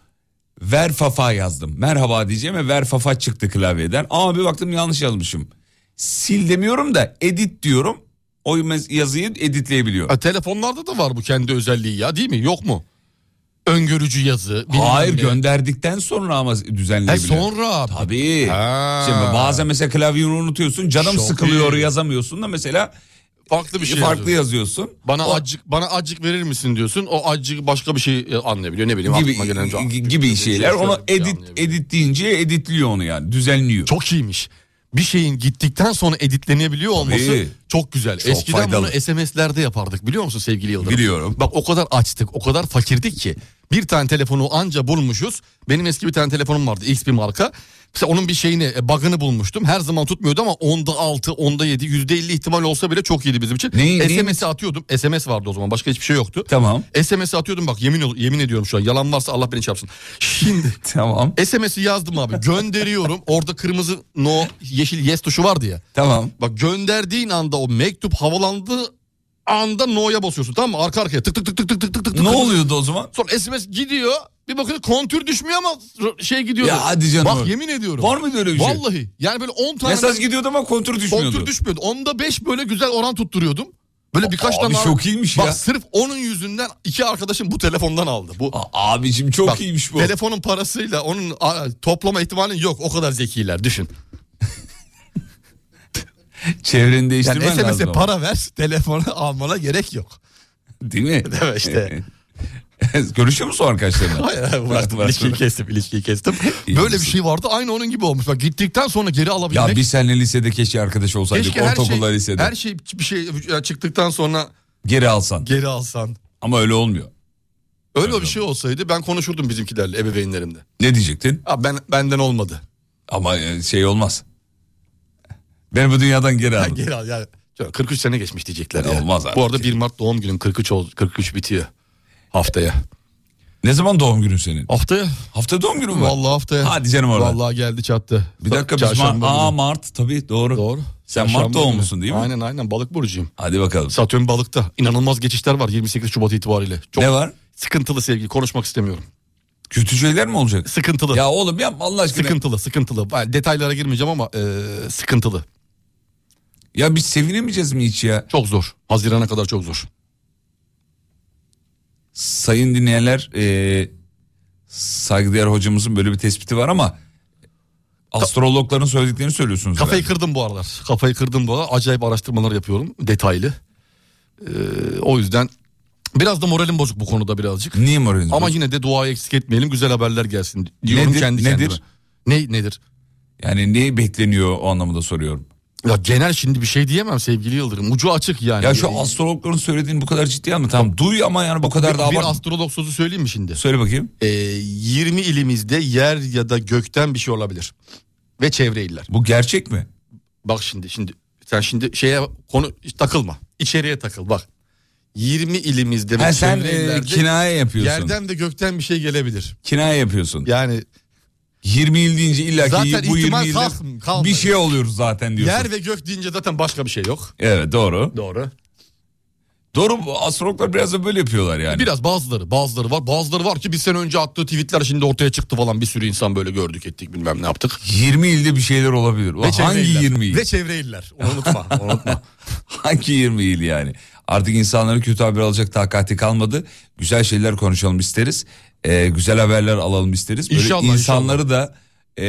ver fafa yazdım. Merhaba diyeceğim ve ver fafa çıktı klavyeden. Ama bir baktım yanlış yazmışım. Sil demiyorum da edit diyorum. O mes- yazıyı editleyebiliyor. Ha, telefonlarda da var bu kendi özelliği ya değil mi? Yok mu? Öngörücü yazı. bilmem Hayır ne. gönderdikten sonra ama He, düzenleyebiliyor. sonra. Tabii. Ha. Şimdi bazen mesela klavyeni unutuyorsun. Canım Çok sıkılıyor iyi. yazamıyorsun da mesela farklı bir şey. farklı yazıyor. yazıyorsun. Bana O- acık bana acık verir misin diyorsun. O acık başka bir şey e, anlayabiliyor. Ne bileyim aklıma gelen gibi çok- gibi, gibi şeyler. Şöyle Onu bir şey edit anlayabiliyor. edit deyince editliyor onu yani düzenliyor. Çok iyiymiş. Bir şeyin gittikten sonra editlenebiliyor olması Tabii. çok güzel. Eskiden faydalı. bunu SMS'lerde yapardık biliyor musun sevgili Yıldırım? Biliyorum. Bak o kadar açtık, o kadar fakirdik ki. Bir tane telefonu anca bulmuşuz. Benim eski bir tane telefonum vardı X bir marka. Mesela onun bir şeyini, e, bug'ını bulmuştum. Her zaman tutmuyordu ama onda 6, onda 7, yüzde 50 ihtimal olsa bile çok iyiydi bizim için. Neyi- neyi- SMS'i atıyordum. SMS vardı o zaman başka hiçbir şey yoktu. Tamam. SMS'i atıyordum bak yemin ol- yemin ediyorum şu an. Yalan varsa Allah beni çarpsın. Şimdi Tamam. SMS'i yazdım abi gönderiyorum. Orada kırmızı no yeşil yes tuşu vardı ya. Tamam. Bak gönderdiğin anda o mektup havalandığı anda no'ya basıyorsun tamam mı? Arka arkaya tık tık tık tık tık tık tık tık. Ne oluyordu o zaman? Sonra SMS gidiyor. Bir bakıyorsun kontür düşmüyor ama şey gidiyor. Ya hadi canım. Bak yemin ediyorum. Var mıydı öyle bir şey? Vallahi. Yani böyle 10 tane Mesaj gidiyordu ama kontür düşmüyordu. kontür düşmüyordu. Onda 5 böyle güzel oran tutturuyordum. Böyle birkaç Abi tane daha- çok iyiymiş Bak ya. sırf onun yüzünden iki arkadaşım bu telefondan aldı. Bu A- Abicim çok Bak, iyiymiş bu. Telefonun parasıyla onun a, toplama ihtimalin yok. O kadar zekiler düşün. Çevreni Yani değiştirmen lazım. SMS'e ama. para ver, telefonu almana gerek yok. Değil mi? Evet işte. Görüşüyor musun arkadaşlarına? Hayır, hayır, bıraktım. ilişkiyi kestim, ilişkiyi kestim. İyi Böyle bir misin? şey vardı. Aynı onun gibi olmuş. Bak gittikten sonra geri alabilmek. Ya biz seninle lisede keşke arkadaş olsaydık. keşke her Ortaokulda şey, lisede. her şey bir şey çıktıktan sonra Geri alsan. geri alsan. Ama öyle olmuyor. Öyle bir şey olsaydı ben konuşurdum bizimkilerle, ebeveynlerimle. Ne diyecektin? Abi ben benden olmadı. Ama e, şey olmaz. Ben bu dünyadan geri Ha, aldım. geri al ya. Şöyle 43 sene geçmiş diyecekler ya. Olmaz artık Bu arada ya. 1 Mart doğum günüm 43 ol, 43 bitiyor haftaya. Ne zaman doğum günün senin? Haftaya. Hafta doğum günün mü? var? Vallahi haftaya. Hadi canım orada. Vallahi geldi çattı. Bir dakika biz Çarşamba Mart, Aa, günü. Mart tabii doğru. Doğru. Sen Çarşamba Mart doğumlusun günü. değil mi? Aynen aynen balık burcuyum. Hadi bakalım. Satürn balıkta. İnanılmaz geçişler var 28 Şubat itibariyle. Çok Ne var? sıkıntılı sevgili konuşmak istemiyorum. Kötü şeyler mi olacak? Sıkıntılı. Ya oğlum yapma Allah aşkına. Sıkıntılı sıkıntılı. Ben detaylara girmeyeceğim ama e, sıkıntılı. Ya biz sevinemeyeceğiz mi hiç ya? Çok zor. Hazirana kadar çok zor. Sayın dinleyenler e, saygıdeğer hocamızın böyle bir tespiti var ama astrologların söylediklerini söylüyorsunuz. Kafayı herhalde. kırdım bu aralar. Kafayı kırdım bu aralar. Acayip araştırmalar yapıyorum detaylı. E, o yüzden biraz da moralim bozuk bu konuda birazcık. Niye moraliniz? Ama bozuk? yine de duayı eksik etmeyelim. Güzel haberler gelsin diyorum Nedir? kendi kendime. Nedir? Ne nedir? Yani ne bekleniyor o anlamda soruyorum. Ya genel şimdi bir şey diyemem sevgili Yıldırım. Ucu açık yani. Ya şu Hani Bir- astrologların söylediğini bu kadar ciddi alma. Tamam duy ama yani bu kadar da bir abart. astrolog sözü söyleyeyim mi şimdi? Söyle bakayım. Ee, 20 ilimizde yer ya da gökten bir şey olabilir. Ve çevre iller. Bu gerçek mi? Bak şimdi şimdi sen şimdi şeye konu takılma. İçeriye takıl bak. 20 ilimizde ve Ha, sen çevre e, illerde kinaye yapıyorsun. yerden de gökten bir şey gelebilir. Kinaye yapıyorsun. Yani 20 yıl deyince illa ki Zaten bu 20 ihtimal yılda kalk- kalmadı. bir şey oluyoruz zaten diyorsun. yer ve gök deyince zaten başka bir şey yok. Evet doğru. Doğru. Doğru bu astrologlar biraz da böyle yapıyorlar yani. Biraz bazıları bazıları var bazıları var ki bir sene önce attığı tweetler şimdi ortaya çıktı falan bir sürü insan böyle gördük ettik bilmem ne yaptık. 20 ilde bir şeyler olabilir. Ulan çevre hangi iller. 20 il? Ve çevre iller. Onu unutma. onu unutma. Hangi 20 il yani? Artık insanların kötü haber alacak takati kalmadı. Güzel şeyler konuşalım isteriz. Ee, güzel haberler alalım isteriz. Böyle İnşallah, insanları da e,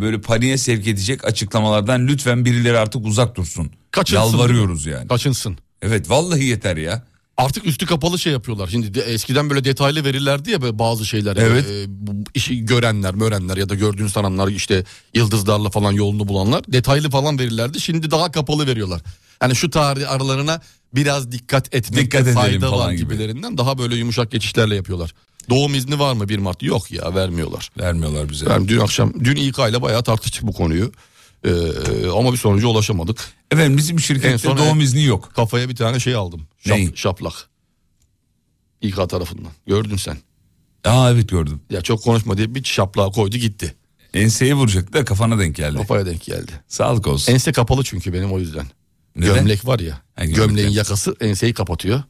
böyle paniğe sevk edecek açıklamalardan lütfen birileri artık uzak dursun. Kaçınsın, Yalvarıyoruz yani. Kaçınsın. Evet vallahi yeter ya. Artık üstü kapalı şey yapıyorlar. Şimdi de, eskiden böyle detaylı verirlerdi ya böyle bazı şeyler. Evet. Ee, bu işi görenler, mörenler ya da gördüğünüz sananlar işte yıldızlarla falan yolunu bulanlar detaylı falan verirlerdi. Şimdi daha kapalı veriyorlar. Yani şu tarih aralarına biraz dikkat etmekte Dikkat edelim fayda falan var gibi. gibilerinden daha böyle yumuşak geçişlerle yapıyorlar. Doğum izni var mı 1 Mart? Yok ya vermiyorlar. Vermiyorlar bize. Yani dün akşam dün İK ile bayağı tartıştık bu konuyu. Ee, ama bir sonuca ulaşamadık. Efendim bizim şirkette En son- doğum izni yok. Kafaya bir tane şey aldım. Şap- Neyi? Şaplak. İK tarafından. Gördün sen. Aa evet gördüm. Ya çok konuşma diye bir şaplağa koydu gitti. Enseye vuracaktı da kafana denk geldi. Kafaya denk geldi. Sağlık olsun. Ense kapalı çünkü benim o yüzden. Neden? Gömlek var ya. Ha, gömlek. gömleğin yakası enseyi kapatıyor.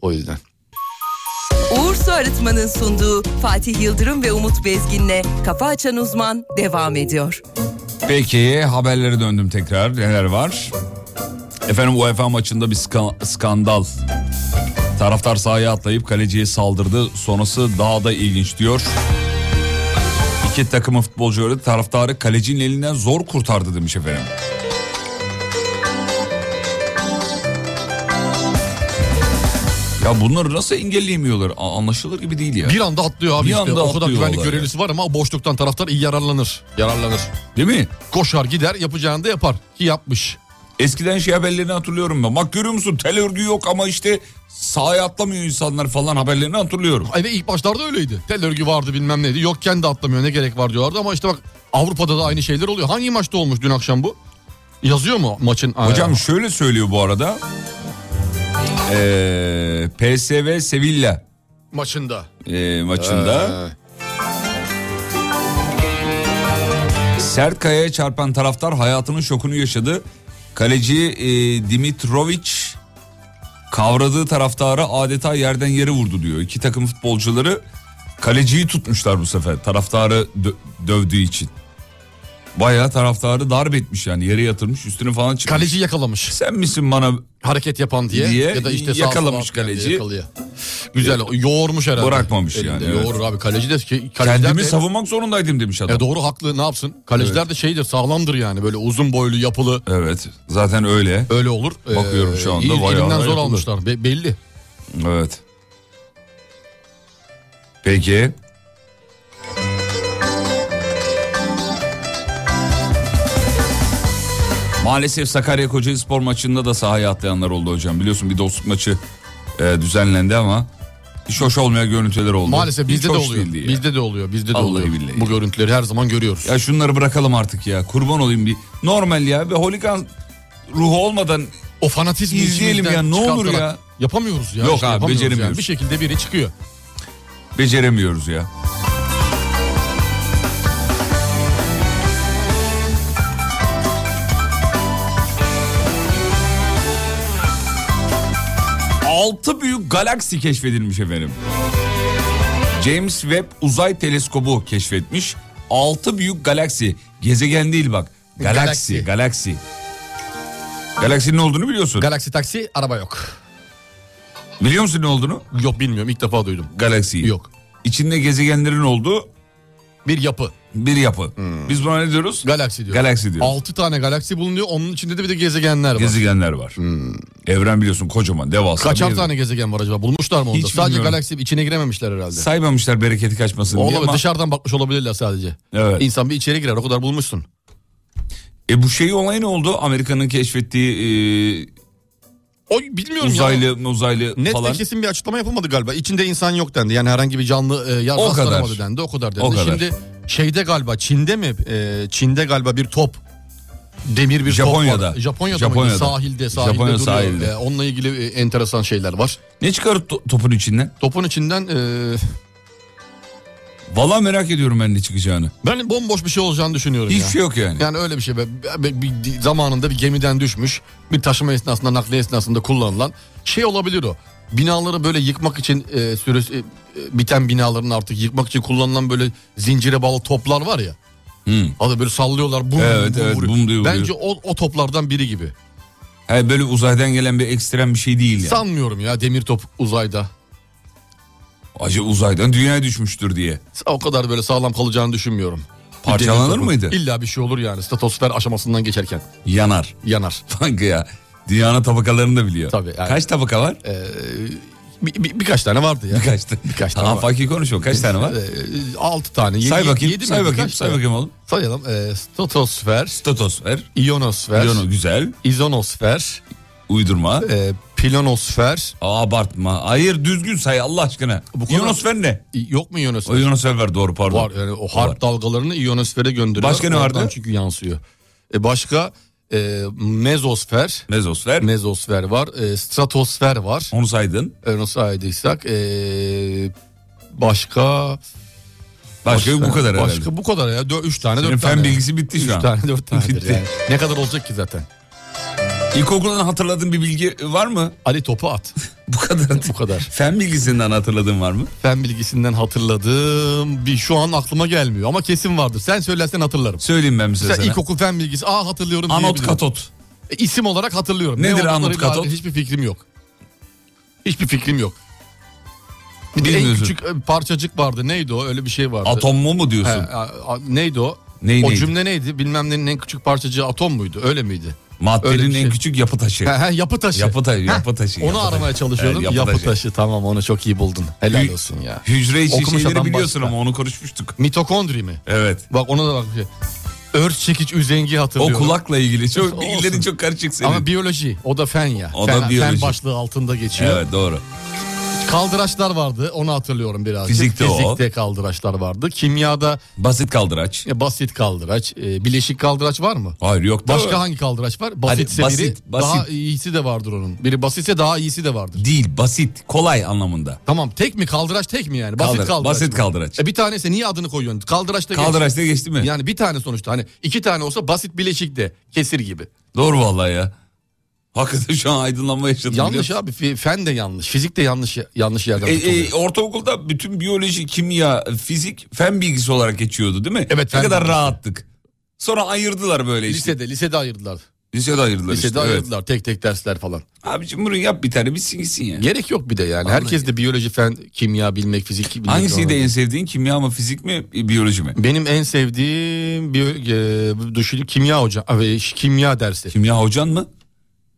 O yüzden. Uğur Su Arıtma'nın sunduğu Fatih Yıldırım ve Umut Bezgin'le Kafa Açan Uzman devam ediyor. Peki haberlere döndüm tekrar. Neler var? Efendim UEFA maçında bir ska- skandal. Taraftar sahaya atlayıp kaleciye saldırdı. Sonrası daha da ilginç diyor. İki takımın futbolcuları taraftarı kalecinin elinden zor kurtardı demiş efendim. Ya bunları nasıl engelleyemiyorlar? A- Anlaşılır gibi değil ya. Bir anda atlıyor abi Bir işte. anda o kadar atlıyor güvenlik olay görevlisi var ama o boşluktan taraftar iyi yararlanır. Yararlanır. Değil mi? Koşar gider yapacağını da yapar. Ki yapmış. Eskiden şey haberlerini hatırlıyorum ben. Bak görüyor musun tel örgü yok ama işte sahaya atlamıyor insanlar falan haberlerini hatırlıyorum. Ay ve ilk başlarda öyleydi. Tel örgü vardı bilmem neydi. Yok kendi atlamıyor ne gerek var diyorlardı ama işte bak Avrupa'da da aynı şeyler oluyor. Hangi maçta olmuş dün akşam bu? Yazıyor mu maçın? Hocam şöyle söylüyor bu arada. Ee, PSV Sevilla maçında. ee, maçında sert kayaya çarpan taraftar hayatının şokunu yaşadı. Kaleci ee, Dimitrovic kavradığı taraftarı adeta yerden yere vurdu diyor. İki takım futbolcuları kaleciyi tutmuşlar bu sefer taraftarı dö- dövdüğü için. Bayağı taraftarı darp etmiş yani yere yatırmış üstüne falan çıkmış. Kaleci yakalamış. Sen misin bana Hareket yapan diye, Diye ya da işte sağ yakalamış sola atlayan diye kaleci. yakalıyor. Güzel yoğurmuş herhalde. Bırakmamış Elinde. yani, evet. Yoğurur abi kaleci de ki kaleciler kendimi de- savunmak zorundaydım demiş adam. E doğru haklı ne yapsın? Kaleciler de şeydir sağlamdır yani böyle uzun boylu yapılı Evet zaten öyle. öyle olur. Ee, Bakıyorum şu anda, il- bayağı elinden zor yapılı. almışlar Be- belli. Evet. Peki. Maalesef Sakarya Kocaelispor maçında da sahaya atlayanlar oldu hocam. Biliyorsun bir dostluk maçı e, düzenlendi ama hiç hoş olmayan görüntüler oldu. Maalesef Hiç bizde de hoş oluyor. değildi ya. Bizde de oluyor. Bizde de Vallahi oluyor. billahi. Bu görüntüleri her zaman görüyoruz. Ya şunları bırakalım artık ya. Kurban olayım bir. Normal ya ve holigan ruhu olmadan o fanatizmi İzleyelim içimizden ya, ne olur çıkartarak ya. Yapamıyoruz ya. Yok işte abi, yapamıyoruz yani. beceremiyoruz. Bir şekilde biri çıkıyor. beceremiyoruz ya. Altı büyük galaksi keşfedilmiş efendim. James Webb Uzay Teleskobu keşfetmiş. Altı büyük galaksi. Gezegen değil bak. Galaksi, Galaksi. galaksi. Galaksinin ne olduğunu biliyorsun. Galaxy taksi araba yok. Biliyor musun ne olduğunu? Yok bilmiyorum ilk defa duydum. Galaksiyi. Yok. İçinde gezegenlerin olduğu Bir yapı. bir yapı. Hmm. Biz buna ne diyoruz? Galaksi diyor. Galaksi diyor. 6 tane galaksi bulunuyor. Onun içinde de bir de gezegenler var. Gezegenler var. Evren biliyorsun kocaman, devasa. bir Hmm. Kaçar evren. tane gezegen var acaba? Bulmuşlar mı onu? da? Hiç Sadece bilmiyorum. galaksi içine girememişler herhalde. Saymamışlar bereketi kaçmasın diye Olabilir. ama Dışarıdan bakmış olabilirler sadece. Evet. İnsan bir içeri girer. O kadar bulmuşsun. e bu şey olay ne oldu? Amerika'nın keşfettiği O e, bilmiyorum ya. uzaylı uzaylı Net falan. ve kesin bir şey- açıklama yapılmadı galiba. İçinde insan yok dendi. Yani herhangi bir canlı e, ya O kadar. rastlanamadı dendi. O kadar dendi. O kadar. Şimdi şeyde galiba Çin'de mi? E, Çin'de galiba bir top demir bir top Japonya'da. var. Japonya'da. Japonya'da. Mı? Sahilde, sahilde Japonya duruyor. sahilde. E, onunla ilgili e, enteresan şeyler var. Ne çıkarıp to- topun içinden? Topun içinden e, Valla merak ediyorum ben ne çıkacağını. ben bomboş bir şey olacağını düşünüyorum Hiçbir ya. şey yok yani. Yani öyle bir şey. be- be- be- bir- zamanında bir gemiden düşmüş. Bir taşıma esnasında, nakliye esnasında kullanılan şey olabilir o. Binaları böyle yıkmak için e, süresi e, biten binaların artık yıkmak için kullanılan böyle zincire bağlı toplar var ya. Hı. Adı böyle sallıyorlar. Bum, Hmm. Evet, bum evet, vuruyor. bum diye vuruyor. Bence o, o toplardan biri gibi. Ha, böyle uzaydan gelen bir ekstrem bir şey değil yani. Sanmıyorum ya demir top uzayda. Acı uzaydan dünyaya düşmüştür diye. O kadar böyle sağlam kalacağını düşünmüyorum. Bir Parçalanır demir topun mıydı? İlla bir şey olur yani statosfer aşamasından geçerken Yanar. yanar. Kanka ya. Dünyanın tabakalarını da biliyor. Tabii, yani. Kaç tabaka var? Ee, bir- bir- birkaç tane vardı ya. Birkaç, Birkaç tane tane. var. fakir konuşuyor. Kaç tane var? 6 tane. yedi- say bakayım. yedi mi? say bakayım. Kaç Say tane? bakayım oğlum. Sayalım. Ee, stratosfer, Stratosfer. ionosfer, Yonu güzel. izonosfer, Uydurma. e, Planonosfer. Aa, abartma. Hayır düzgün say Allah aşkına. Bu kadar- İyonosfer ne? İ- Yok mu O ionosfer? iyonosfer var doğru pardon. Var yani o harp Var. dalgalarını ionosfere gönderiyor. Başka ne Oradan vardı? Çünkü yansıyor. E başka e, mezosfer, Mezosfer. mezosfer var, e, stratosfer var. Onu saydın. E, nasıl aydıysak e, başka Başka yok bu kadar başka herhalde. bu kadar ya. Dö- üç tane, Senin dört fen tane. bilgisi bitti şu Üç an. tane, dört tane. Bitti. Yani. Ne kadar olacak ki zaten? İlkokuldan hatırladığın bir bilgi var mı? Ali topu at. Bu kadar. bu kadar. Fen bilgisinden hatırladığın var mı? Fen bilgisinden hatırladığım bir şu an aklıma gelmiyor ama kesin vardır. Sen söylersen hatırlarım. Söyleyeyim ben size Sen sana. ilkokul fen bilgisi. Aa hatırlıyorum. Anot diyebilirim. katot. E, İsim olarak hatırlıyorum. Nedir olduklarıyla Anut Katot? alakalı Hiçbir fikrim yok. Hiçbir fikrim yok. Bir de en Bilmiyorsun. küçük e, parçacık vardı. Neydi o? Öyle bir şey vardı. Atom mu mu He, diyorsun? a- a- neydi o? Neyi o neydi? cümle neydi? Bilmem nenin en küçük parçacığı atom muydu? Öyle miydi? öyle Maddenin bir en şey. küçük yapı taşı. He, he, yapı taşı. Yapı taşı, yapı taşı. Onu yapı taşı. aramaya çalışıyordum. Evet, yapı, taşı. tamam onu çok iyi buldun. Helal olsun ya. Hücre içi Okumuş şeyleri adam biliyorsun başka. ama onu konuşmuştuk. Mitokondri mi? Evet. Bak ona da bak. bir şey. Ört çekiç üzengi O hatırlıyorum. kulakla ilgili çok Olsun. bilgilerin çok karışık senin. Ama biyoloji. O da fen ya. O da fen, biyoloji. fen başlığı altında geçiyor. Evet doğru. Kaldıraçlar vardı. Onu hatırlıyorum birazcık. Fizikte o. Fizikte kaldıraçlar vardı. Kimyada Basit kaldıraç. e, basit kaldıraç, e, bileşik kaldıraç var mı? Hayır yok. Başka Doğru. hangi kaldıraç var? Basitse basit, biri, basit. daha iyisi de vardır onun. Biri basitse daha iyisi de vardır. Değil basit kolay anlamında. Tamam tek mi kaldıraç tek mi yani? Basit Kaldır- kaldıraç. basit mı? kaldıraç. E bir tanesi niye adını koyuyorsun? Kaldıraç da geç. Kaldıraç diye geçti mi? Yani bir tane sonuçta hani iki tane olsa basit bileşik de kesir gibi. Doğru vallahi ya. Hakikaten şu an aydınlanma yaşadım. Yanlış biliyor abi fi- fen de yanlış fizik de yanlış yanlış yerden musun? E, tutuluyor. e, ortaokulda bütün biyoloji, kimya, fizik, fen bilgisi olarak geçiyordu değil mi? Evet, Ne fen kadar bilgisi. rahattık. Sonra ayırdılar böyle işte. lisede lisede ayırdılar. Lisede ayırdılar Lisede işte. Evet. ayırdılar tek tek dersler falan. Abicim bunu yap bir tane bitsin gitsin ya. Gerek yok bir de yani. Herkes de biyoloji, fen, kimya bilmek, fizik bilmek. Hangisiydi zorunda. en sevdiğin kimya mı fizik mi e, biyoloji mi? Benim en sevdiğim biyo- e, düşünün kimya hoca, abi, ş- kimya dersi. Kimya hocan mı?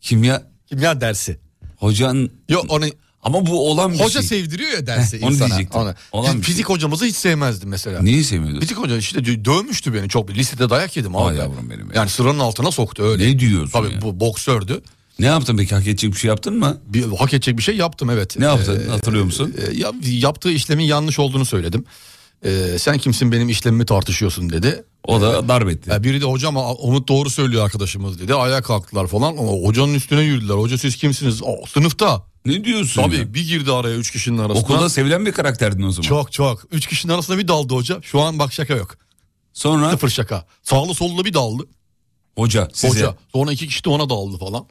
Kimya Kimya dersi. hocan Yok onu ama bu olan bir şey. hoca sevdiriyor ya dersi onu insana. diyecektim. Ona. Olan Fiz- bir şey. Fizik hocamızı hiç sevmezdim mesela. Neyi sevmiyordun? Fizik hoca işte dö- dövmüştü beni çok. Lisede dayak yedim abi. Ay yavrum benim ya. Yani sıranın altına soktu öyle. Ne diyorsun Tabii ya? bu boksördü. Ne yaptın peki hak edecek bir şey yaptın mı? Bir, hak edecek bir şey yaptım evet. Ne yaptın Ee, hatırlıyor musun? E, ya- yaptığı işlemin yanlış olduğunu söyledim. E, sen kimsin benim işlemimi tartışıyorsun dedi. O da darbetti. Ya biri de hocam a- Umut doğru söylüyor arkadaşımız dedi. Ayağa kalktılar falan. O, hocanın üstüne yürüdüler. Hoca siz kimsiniz? O, sınıfta. Ne diyorsun? Tabii ya? bir girdi araya üç kişinin arasına. Okulda sevilen bir karakterdin o zaman. çok çok. Üç kişinin arasına bir daldı hoca. Şu an bak şaka yok. Sonra Sıfır şaka. Sağlı sollu bir daldı hoca size. hoca. Sonra iki kişi de ona daldı falan.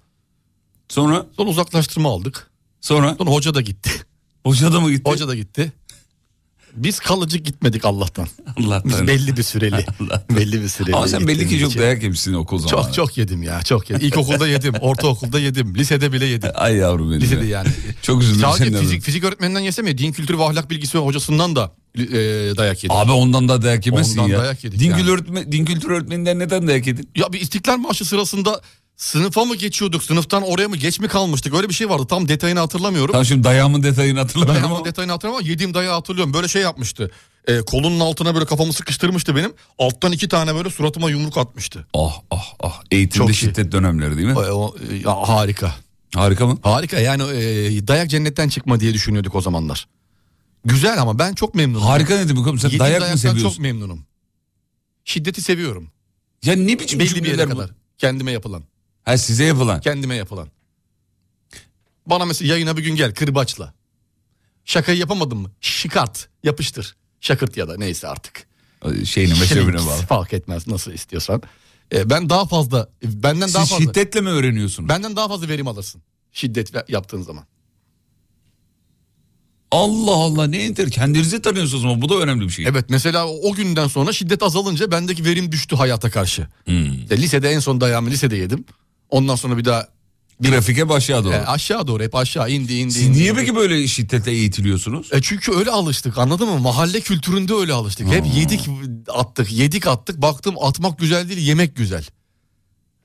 Sonra Sonra uzaklaştırma aldık. sonra Sonra hoca da gitti. hoca da mı gitti? Hoca da gitti. Biz kalıcı gitmedik Allah'tan. Biz Allah'tan. belli bir süreli. belli bir süreli. Ama sen belli ki gittiğimiz çok için. dayak yemişsin okul zamanı. Çok çok yedim ya çok yedim. İlkokulda yedim, ortaokulda yedim, lisede bile yedim. Ay yavrum benim. Lisede ya. yani. Çok üzüldüm Sadece senden. fizik, fizik öğretmeninden yesem ya din kültürü ve ahlak bilgisi hocasından da e, dayak yedim. Abi ondan da dayak yemesin Ondan ya. dayak yedik din, yani. kültür öğretme, din kültür öğretmeninden neden dayak yedin? Ya bir İstiklal Marşı sırasında sınıfa mı geçiyorduk, sınıftan oraya mı geç mi kalmıştık öyle bir şey vardı. Tam detayını hatırlamıyorum. Tamam şimdi dayağımın detayını Ben hatırlamıyorum ama ama. detayını hatırlamıyorum ama yediğim dayağı hatırlıyorum. Böyle şey yapmıştı. E, kolunun altına böyle kafamı sıkıştırmıştı benim. Alttan iki tane böyle suratıma yumruk atmıştı. Ah ah ah. Eğitimde Çok iyi. şiddet dönemleri değil mi? E, o, e, ya, harika. Harika mı? Harika yani e, dayak cennetten çıkma diye düşünüyorduk o zamanlar. Güzel ama ben çok memnunum. Harika ne demek oğlum? Sen Yediğim dayak dayaktan mı seviyorsun? çok memnunum. Şiddeti seviyorum. Ya ne biçim Belli bir yere cümleler bu? kadar. Kendime yapılan. Ha size yapılan. Kendime yapılan. Bana mesela yayına bir gün gel kırbaçla. Şakayı yapamadın mı? Şikart. Yapıştır. Şakırt ya da neyse artık. Şeyine meşrebine Şirinks, bağlı. Fark etmez nasıl istiyorsan. E, ben daha fazla e, benden daha Siz fazla şiddetle mi öğreniyorsunuz? benden daha fazla verim alırsın. Şiddet ve- yaptığın zaman. Allah Allah ne enter. Kendinizi tanıyorsunuz ama bu da önemli bir şey. Evet mesela o o günden sonra şiddet azalınca bendeki verim düştü hayata karşı. Hmm. İşte lisede en son dayağımı lisede yedim. Ondan sonra bir daha Grafike başa doğru. e, aşağı doğru hep aşağı indi indi Siz indi. niye indi. peki böyle şiddete eğitiliyorsunuz? E çünkü öyle alıştık anladın mı? Mahalle kültüründe öyle alıştık. Hep yedik attık, yedik attık. Baktım atmak güzel değil, yemek güzel.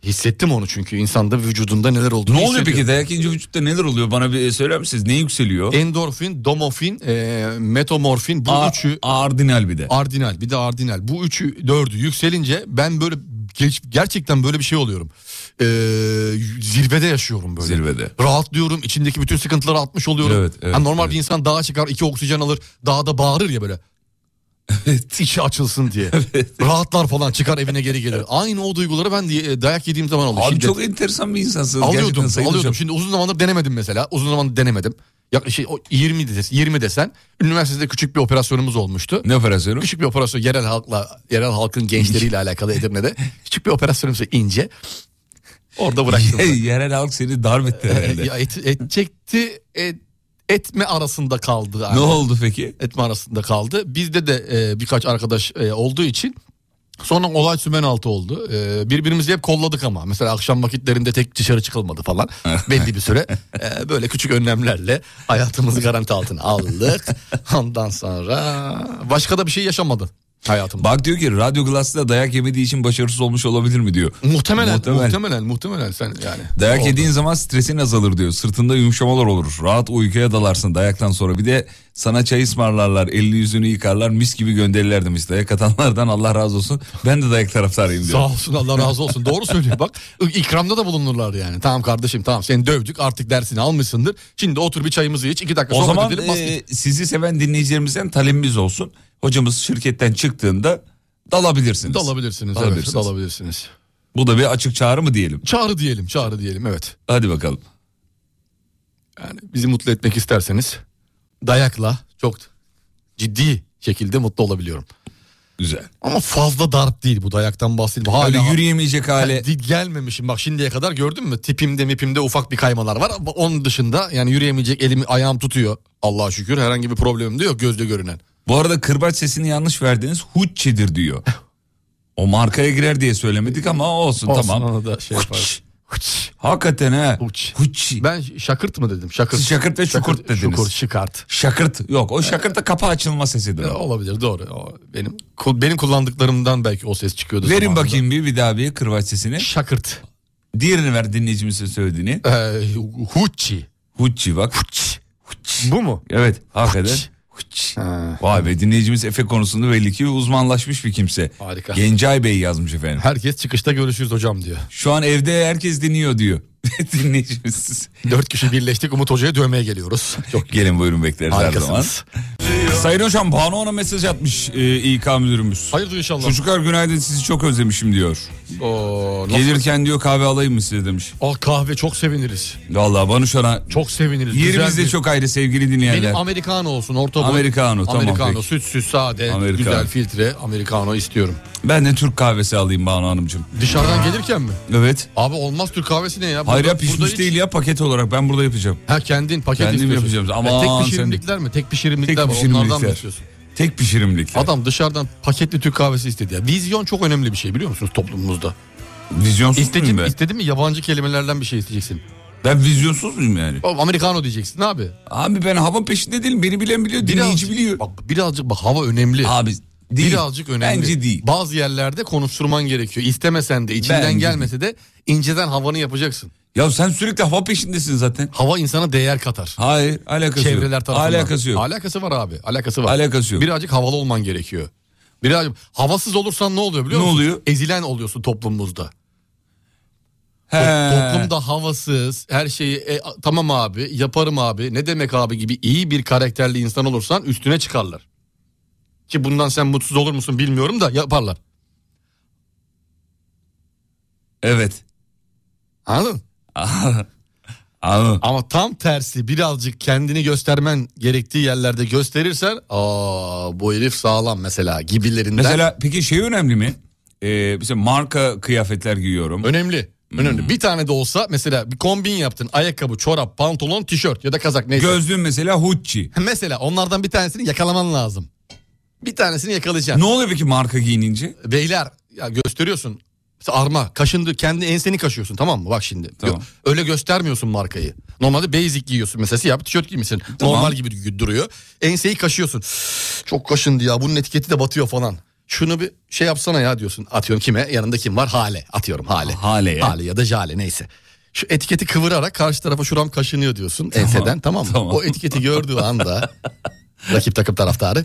Hissettim onu çünkü insanda vücudunda neler olduğunu Ne oluyor hissediyorum. peki dayak yiyince vücutta neler oluyor bana bir söyler misiniz? Ne E, yükseliyor? Endorfin, domofin, e, metamorfin bu A- üçü Ardinal bir de. ardinal bir de ardinal. Bu üçü dördü yükselince ben böyle geç- gerçekten böyle bir şey oluyorum. e, zirvede yaşıyorum böyle. Zirvede. Rahatlıyorum içimdeki bütün sıkıntıları atmış oluyorum. Evet, evet, Hani normal evet. bir insan dağa çıkar iki oksijen alır dağda bağırır ya böyle. Evet. İçi açılsın diye. Rahatlar falan çıkar evine geri gelir. Aynı o duyguları ben diye, dayak yediğim zaman oluyor. Abi Şiddet. çok enteresan bir insansınız. Alıyordum, gerçekten Sayın alıyordum. Hocam. Şimdi uzun zamandır denemedim mesela. Uzun zamandır denemedim. Yaklaşık şey, o 20 desen, 20 desen üniversitede küçük bir operasyonumuz olmuştu. Ne operasyonu? Küçük bir operasyon yerel halkla, yerel halkın gençleriyle alakalı Edirne'de. Küçük bir operasyonumuz ince. Orada bıraktım. Yerel halk seni darp etti herhalde. ya et, edecekti, et- etme arasında kaldı. abi. ne oldu peki? Etme arasında kaldı. Bizde de e, birkaç arkadaş e, olduğu için sonra olay sümen altı oldu. E, birbirimizi hep kolladık ama. Mesela akşam vakitlerinde tek dışarı çıkılmadı falan. Belli bir süre e, böyle küçük önlemlerle hayatımızı garanti altına aldık. Ondan sonra başka da bir şey yaşamadı hayatımda. Bak diyor ki Radyo Glass'ta dayak yemediği için başarısız olmuş olabilir mi diyor. Muhtemelen, Muhtemelen. muhtemelen, muhtemelen, sen yani. Dayak Oldu. yediğin zaman stresin azalır diyor. Sırtında yumuşamalar olur. Rahat uykuya dalarsın dayaktan sonra. Bir de sana çay ısmarlarlar. Elini yüzünü yıkarlar. Mis gibi gönderirler demiş. Dayak atanlardan Allah razı olsun. Ben de dayak taraftarıyım diyor. Sağ olsun Allah razı olsun. Doğru söylüyor bak. ikramda da bulunurlar yani. Tamam kardeşim tamam seni dövdük artık dersini almışsındır. Şimdi otur bir çayımızı iç iki dakika O sohbet zaman edelim. e, basket. sizi seven dinleyicilerimizden talebimiz olsun. Hocamız şirketten çıktığında dalabilirsiniz. dalabilirsiniz. dalabilirsiniz. Evet, dalabilirsiniz. Bu da bir açık çağrı mı diyelim? Çağrı diyelim çağrı diyelim evet. Hadi bakalım. Yani bizi mutlu etmek isterseniz dayakla çok ciddi şekilde mutlu olabiliyorum. Güzel. Ama fazla darp değil bu dayaktan bahsediyorum. Öyle Hala yürüyemeyecek hale. Di- gelmemişim bak şimdiye kadar gördün mü tipimde mipimde ufak bir kaymalar var ama onun dışında yani yürüyemeyecek elimi ayağım tutuyor Allah'a şükür herhangi bir problemim de yok gözle görünen. Bu arada kırbaç sesini yanlış verdiniz. Huççidir diyor. O markaya girer diye söylemedik ama olsun, Olsun, tamam. ona da şey Huç. yaparız. Hıç. Hakikaten ha. Huç. Huç. Ben şakırt mı dedim şakırt. Siz şakırt ve şukurt dediniz. Şukurt şıkart. Şakırt. Yok o şakırt da kapı açılma sesidir. Ee, Olabilir doğru. O Benim kul- benim kullandıklarımdan belki o ses çıkıyordu. Verin zamanında. bakayım bir, bir daha bir kırbaç sesini. Şakırt. Diğerini ver dinleyicimizin söylediğini. Ee, huçi. Huççi bak. Bu mu? Evet hakikaten. Huç. Vay be dinleyicimiz Efe konusunda belli ki uzmanlaşmış bir kimse. Harika. Gencay Bey yazmış efendim. Herkes çıkışta görüşürüz hocam diyor. Şu an evde herkes dinliyor diyor. dinleyicimiz. Dört kişi birleştik Umut Hoca'ya dövmeye geliyoruz. Çok Gelin buyurun bekleriz her zaman. harikasınız. Sayın hocam Banu Han'a mesaj atmış e, İK müdürümüz. Hayırdır inşallah. Çocuklar günaydın sizi çok özlemişim diyor. Oo, nasıl- Gelirken diyor kahve alayım mı size demiş. Aa, kahve çok seviniriz. Vallahi Banu Şan'a Çok seviniriz. Güzel yerimizde bir- çok ayrı sevgili Benim dinleyenler. Americano olsun orta boy. Americano, tamam, Americano peki. sütsüz sade Americano. güzel filtre Americano istiyorum. Ben de Türk kahvesi alayım Banu Hanımcığım. Dışarıdan gelirken mi? Evet. Abi olmaz Türk kahvesi ne ya? Hayır Burada- ya pişmiş burada hiç- değil ya paket olarak ben burada yapacağım. Ha kendin paket Kendim istiyorsun. yapacağım. Ya Aman sen de. tek pişirimlikler mi? Tek pişirimlikler Tek var. Onlardan mı pişirimlikler. istiyorsun? Tek pişirimlikler. Adam dışarıdan paketli Türk kahvesi istedi ya. Vizyon çok önemli bir şey biliyor musunuz toplumumuzda? Vizyonsuz İstedin, muyum ben? istedin mi yabancı kelimelerden bir şey isteyeceksin. Ben vizyonsuz muyum yani? Oğlum, Americano diyeceksin abi. Abi ben hava peşinde değilim. Beni bilen biliyor. Dinleyici Birazcık, biliyor. Bak, birazcık bak hava önemli. Abi değil. Birazcık önemli. Bence değil. Bazı yerlerde konuşturman gerekiyor. İstemesen de içinden Bence gelmese de inceden havanı yapacaksın. Ya sen sürekli hava peşindesin zaten. Hava insana değer katar. Hayır alakası yok. Çevreler tarafından. Alakası yok. Alakası var abi. Alakası var. Alakası yok. Birazcık havalı olman gerekiyor. Birazcık havasız olursan ne oluyor biliyor Ne musun? oluyor? Ezilen oluyorsun toplumumuzda. He. Toplumda havasız, her şeyi "E, a- tamam abi, yaparım abi, ne demek abi gibi iyi bir karakterli insan olursan üstüne çıkarlar. Ki bundan sen mutsuz olur musun bilmiyorum da yaparlar. Evet. Anladın? Anladım. Ama tam tersi birazcık kendini göstermen gerektiği yerlerde gösterirsen aa bu herif sağlam mesela gibilerinden. Mesela peki şey önemli mi? Ee, mesela marka kıyafetler giyiyorum. önemli. Önemli. Bir tane de olsa mesela bir kombin yaptın. Ayakkabı, çorap, pantolon, tişört ya da kazak neyse. Gözlüğüm mesela Gucci. Mesela onlardan bir tanesini yakalaman lazım. Bir tanesini yakalayacaksın. Ne oluyor peki marka giyinince? Beyler ya gösteriyorsun. Mesela arma kaşındı kendi enseni kaşıyorsun tamam mı bak şimdi. Tamam. Gö- Öyle göstermiyorsun markayı. Normalde basic giyiyorsun mesela siyah bir tişört giymişsin. Tamam. Normal gibi gü- duruyor. Enseyi kaşıyorsun. Çok kaşındı ya bunun etiketi de batıyor falan. Şunu bir şey yapsana ya diyorsun. Atıyorum kime? Yanında kim var? Hale. Atıyorum hale. Hale ya. Hale ya da jale neyse. Şu etiketi kıvırarak karşı tarafa şuram kaşınıyor diyorsun enseden tamam mı? Tamam. O etiketi gördüğü anda Rakip takım taraftarı.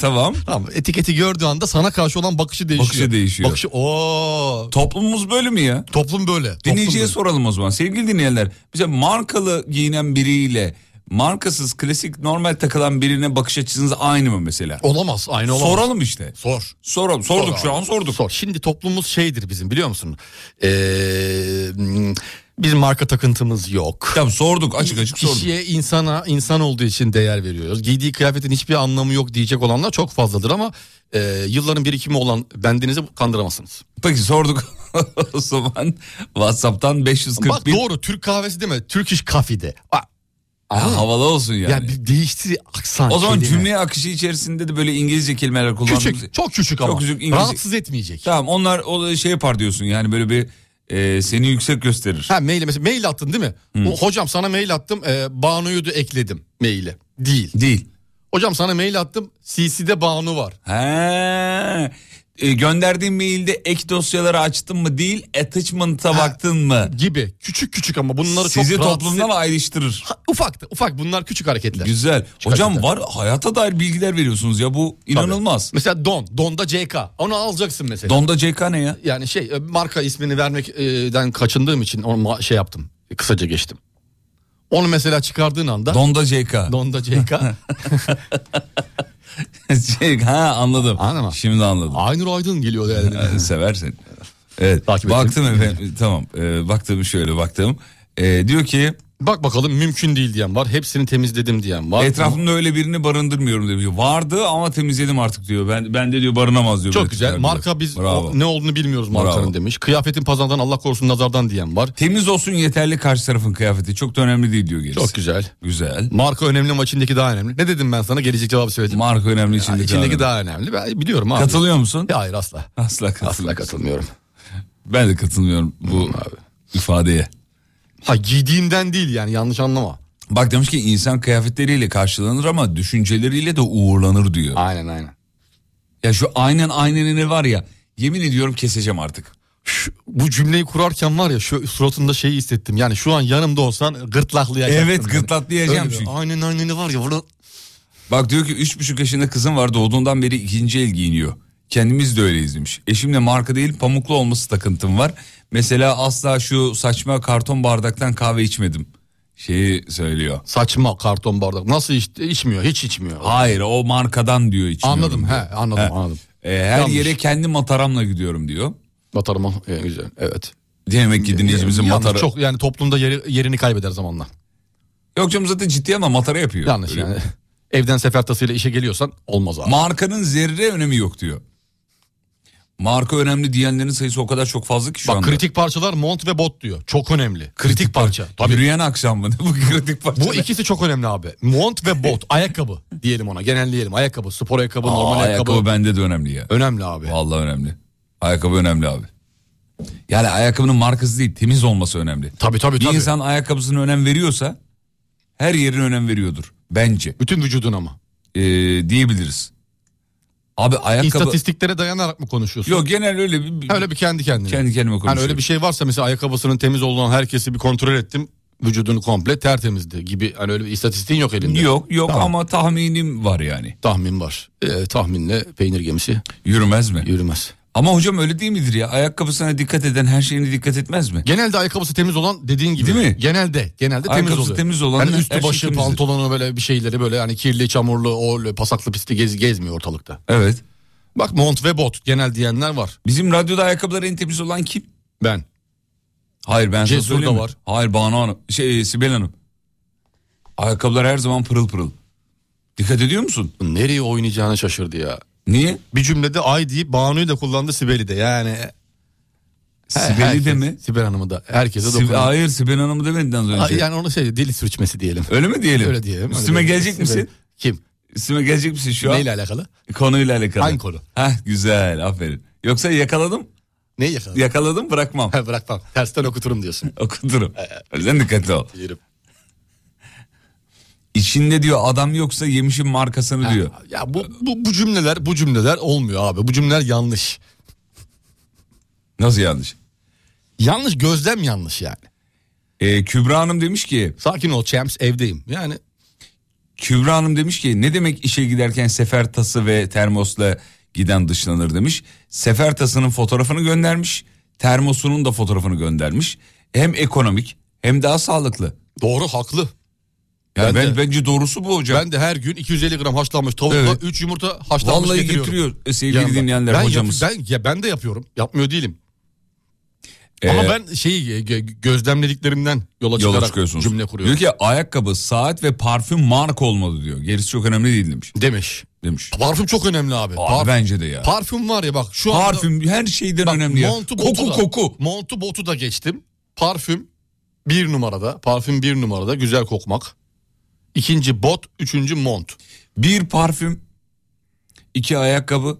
tamam. Tamam etiketi gördüğü anda sana karşı olan bakışı değişiyor. Bakışı değişiyor. Bakışı ooo. Toplumumuz böyle mi ya? Toplum böyle. toplum Dinleyiciye böyle. soralım o zaman. Sevgili dinleyenler bize markalı giyinen biriyle markasız klasik normal takılan birine bakış açınız aynı mı mesela? Olamaz aynı olamaz. Soralım işte. Sor. Soralım. Sorduk Sor şu abi. an sorduk. Sor. Şimdi toplumumuz şeydir bizim biliyor musun? Ee, m, bizim marka takıntımız yok. Tamam sorduk açık açık sorduk. Kişiye insana insan olduğu için değer veriyoruz. Giydiği kıyafetin hiçbir anlamı yok diyecek olanlar çok fazladır ama e, yılların birikimi olan bendenizi kandıramazsınız. Peki sorduk o zaman WhatsApp'tan 541. Bak doğru Türk kahvesi deme Türk iş kafide. Aa, Ya, havalı olsun yani. Ya bir değişti aksan. o zaman kelime. cümle akışı içerisinde de böyle İngilizce kelimeler kullanmak. küçük çok küçük ama Çok küçük İngilizce- rahatsız etmeyecek. Tamam onlar o şey yapar diyorsun yani böyle bir e, seni yüksek gösterir. Ha mail mesela mail attın değil mi? Hmm. O, hocam sana mail attım. E, Banu'yu da ekledim maile. Değil. Değil. Hocam sana mail attım. CC'de Banu var. He. E, gönderdiğin mailde ek dosyaları açtın mı değil attachment'a baktın mı? Gibi. Küçük küçük ama bunları Sizi çok rahatsız toplumdan ayrıştırır. Ha, ufak da- ufak bunlar küçük hareketler. Güzel. Çok Hocam güzel. var hayata dair bilgiler veriyorsunuz ya bu inanılmaz. Mesela don. Donda CK. Onu alacaksın mesela. Donda CK ne ya? Yani şey e, marka ismini vermekten kaçındığım için onu ma- şey yaptım. e, Kısaca geçtim. Onu mesela çıkardığın anda Donda CK. Donda CK. CK, Şey, ha anladım. Anladın mı? Şimdi anladım. Aynur Aydın geliyor yani. Ee, Seversin. Evet. Takip baktım efendim. Tamam. Ee, baktım şöyle baktım. Ee, diyor ki Bak bakalım mümkün değil diyen var. Hepsini temizledim diyen var. etrafımda öyle birini barındırmıyorum diyor. Vardı ama temizledim artık diyor. Ben ben de diyor barınamaz diyor. Çok böyle güzel. tipler Marka diyor. biz Bravo. o- ne olduğunu bilmiyoruz markanın Bravo. demiş. Kıyafetin pazardan Allah korusun nazardan diyen var. Temiz olsun yeterli karşı tarafın kıyafeti. Çok da önemli değil diyor gerisi. Çok güzel. Güzel. Marka önemli ama içindeki daha önemli. Ne dedim ben sana? Gelecek cevabı söyledim. Marka önemli içindeki. içindeki önemli. daha önemli. Ben biliyorum abi. Katılıyor musun? Ya hayır asla. Asla Asla katılmıyorum. katılmıyorum. Ben de katılmıyorum bu ifadeye. Ha giydiğimden değil yani yanlış anlama. Bak demiş ki insan kıyafetleriyle karşılanır ama düşünceleriyle de uğurlanır diyor. Aynen aynen. Ya şu aynen aynenini var ya yemin ediyorum keseceğim artık. Şu- bu cümleyi kurarken var ya şu suratında şeyi hissettim. Yani şu an yanımda olsan gırtlaklayacaksın. Evet beni. gırtlatlayacağım Öyle, çünkü. Aynen aynen var ya burada. şey. Bak diyor ki üç buçuk yaşında kızım var doğduğundan beri ikinci el giyiniyor. Kendimiz de öyleyiz demiş. Eşimle marka değil pamuklu olması takıntım var. Mesela asla şu saçma karton bardaktan kahve içmedim. Şeyi söylüyor. Saçma karton bardak. Nasıl iç, içmiyor? Hiç içmiyor. Hayır o markadan diyor içmiyorum. anladım diyor. he anladım He. anladım. Ee, her Yanlış. yere kendi mataramla gidiyorum diyor. Batarıma e, güzel evet. Demek ki dinleyicimizin Yalnız matara... Çok yani toplumda yeri, yerini kaybeder zamanla. Yok canım zaten ciddi ama matara yapıyor. Yanlış Öyle. yani. Evden sefer tasıyla işe geliyorsan olmaz abi. Markanın zerre önemi yok diyor. Marka önemli diyenlerin sayısı o kadar çok fazla ki şu Bak anda. kritik parçalar mont ve bot diyor. Çok önemli. Kritik parça. Tabii. Yürüyen akşam mı? Bu kritik parça. Bu ikisi çok önemli abi. Mont ve bot. ayakkabı diyelim ona. Genelleyelim. Ayakkabı, spor ayakkabı, Aa, normal ayakkabı. ayakkabı, bende de önemli ya. Önemli abi. Vallahi önemli. Ayakkabı önemli abi. Yani ayakkabının markası değil temiz olması önemli. Tabii tabii Bir tabii. insan ayakkabısına önem veriyorsa her yerine önem veriyordur. Bence. Bütün vücudun ama. Ee, diyebiliriz. Abi ayakkabı... İstatistiklere dayanarak mı konuşuyorsun? Yok genel öyle bir... Ha, Öyle bir kendi kendine. Kendi kendime Hani konuşuyorum. öyle bir şey varsa mesela ayakkabısının temiz olan herkesi bir kontrol ettim. Vücudunu komple tertemizdi gibi. Hani öyle bir istatistiğin yok elinde. Yok yok Tamam. ama tahminim var yani. Tahmin var. Ee, tahminle peynir gemisi Yürümez mi? yürümez. Ama hocam öyle değil midir ya? Ayakkabısına dikkat eden her şeyine dikkat etmez mi? Genelde ayakkabısı temiz olan dediğin gibi. Değil mi? Genelde. Genelde temiz Ayakkabısı oluyor. temiz olan Yani her Hani üstü şey başı temizdir. pantolonu böyle bir şeyleri böyle hani kirli çamurlu o öyle pasaklı pisli gez, gezmiyor ortalıkta. Evet. Bak mont ve bot genel diyenler var. Bizim radyoda ayakkabıları en temiz olan kim? Ben. Hayır ben Cesur sana da söyleyeyim mi? var. Hayır Banu Hanım. Şey Sibel Hanım. Ayakkabılar her zaman pırıl pırıl. Dikkat ediyor musun? Nereye oynayacağını şaşırdı ya. Niye? Bir cümlede ay deyip Banu'yu da kullandı Sibel'i de yani. Sibel'i de herkes- mi? Sibel Hanım'ı da herkese Sibel- dokunan. hayır Sibel Hanım'ı demedin az önce. Yani onu şey dil sürçmesi diyelim. Öyle mi diyelim? Öyle diyelim. öyle Üstüme diyelim. gelecek Sibel- misin? Kim? Üstüme gelecek misin şu an? Neyle alakalı? Konuyla alakalı. Hangi konu? Heh güzel aferin. Yoksa yakaladım. Neyi yakaladın? Yakaladım bırakmam. Ha, Bırak tamam. Tersten okuturum diyorsun. Okuturum. Ee, Sen dikkatli ol. Diyelim. İçinde diyor adam yoksa yemişin markasını diyor. Ya bu, bu, bu cümleler bu cümleler olmuyor abi. Bu cümleler yanlış. Nasıl yanlış? Yanlış gözlem yanlış yani. Ee, Kübra Hanım demiş ki Sakin ol champs evdeyim. Yani Kübra Hanım demiş ki ne demek işe giderken sefer tası ve termosla giden dışlanır demiş. Sefer tasının fotoğrafını göndermiş. Termosunun da fotoğrafını göndermiş. Hem ekonomik hem daha sağlıklı. Doğru haklı. Yani Ben ben, de. bence doğrusu bu hocam. Ben de her gün 250 gram haşlanmış tavukla Evet. 3 yumurta haşlanmış Vallahi getiriyorum. getiriyor e, sevgili Yanında. dinleyenler ben hocamız. yap- ben, ya ben de yapıyorum. Yapmıyor değilim. Ee, Ama ben şeyi e, gö- gözlemlediklerimden yola yola çıkarak çıkıyorsunuz. cümle Diyor kuruyorum. ki ayakkabı, saat ve parfüm marka olmalı diyor. Gerisi çok önemli değil demiş. Demiş. Demiş. Parfüm çok önemli abi. Abi Parfüm- bence de ya. Parfüm var ya bak şu anda... Parfüm her şeyden Bak, önemli ya. montu botu Koku da- koku. Montu botu da geçtim. Parfüm bir numarada. Parfüm bir numarada. Güzel kokmak. İkinci bot, üçüncü mont. Bir parfüm, iki ayakkabı.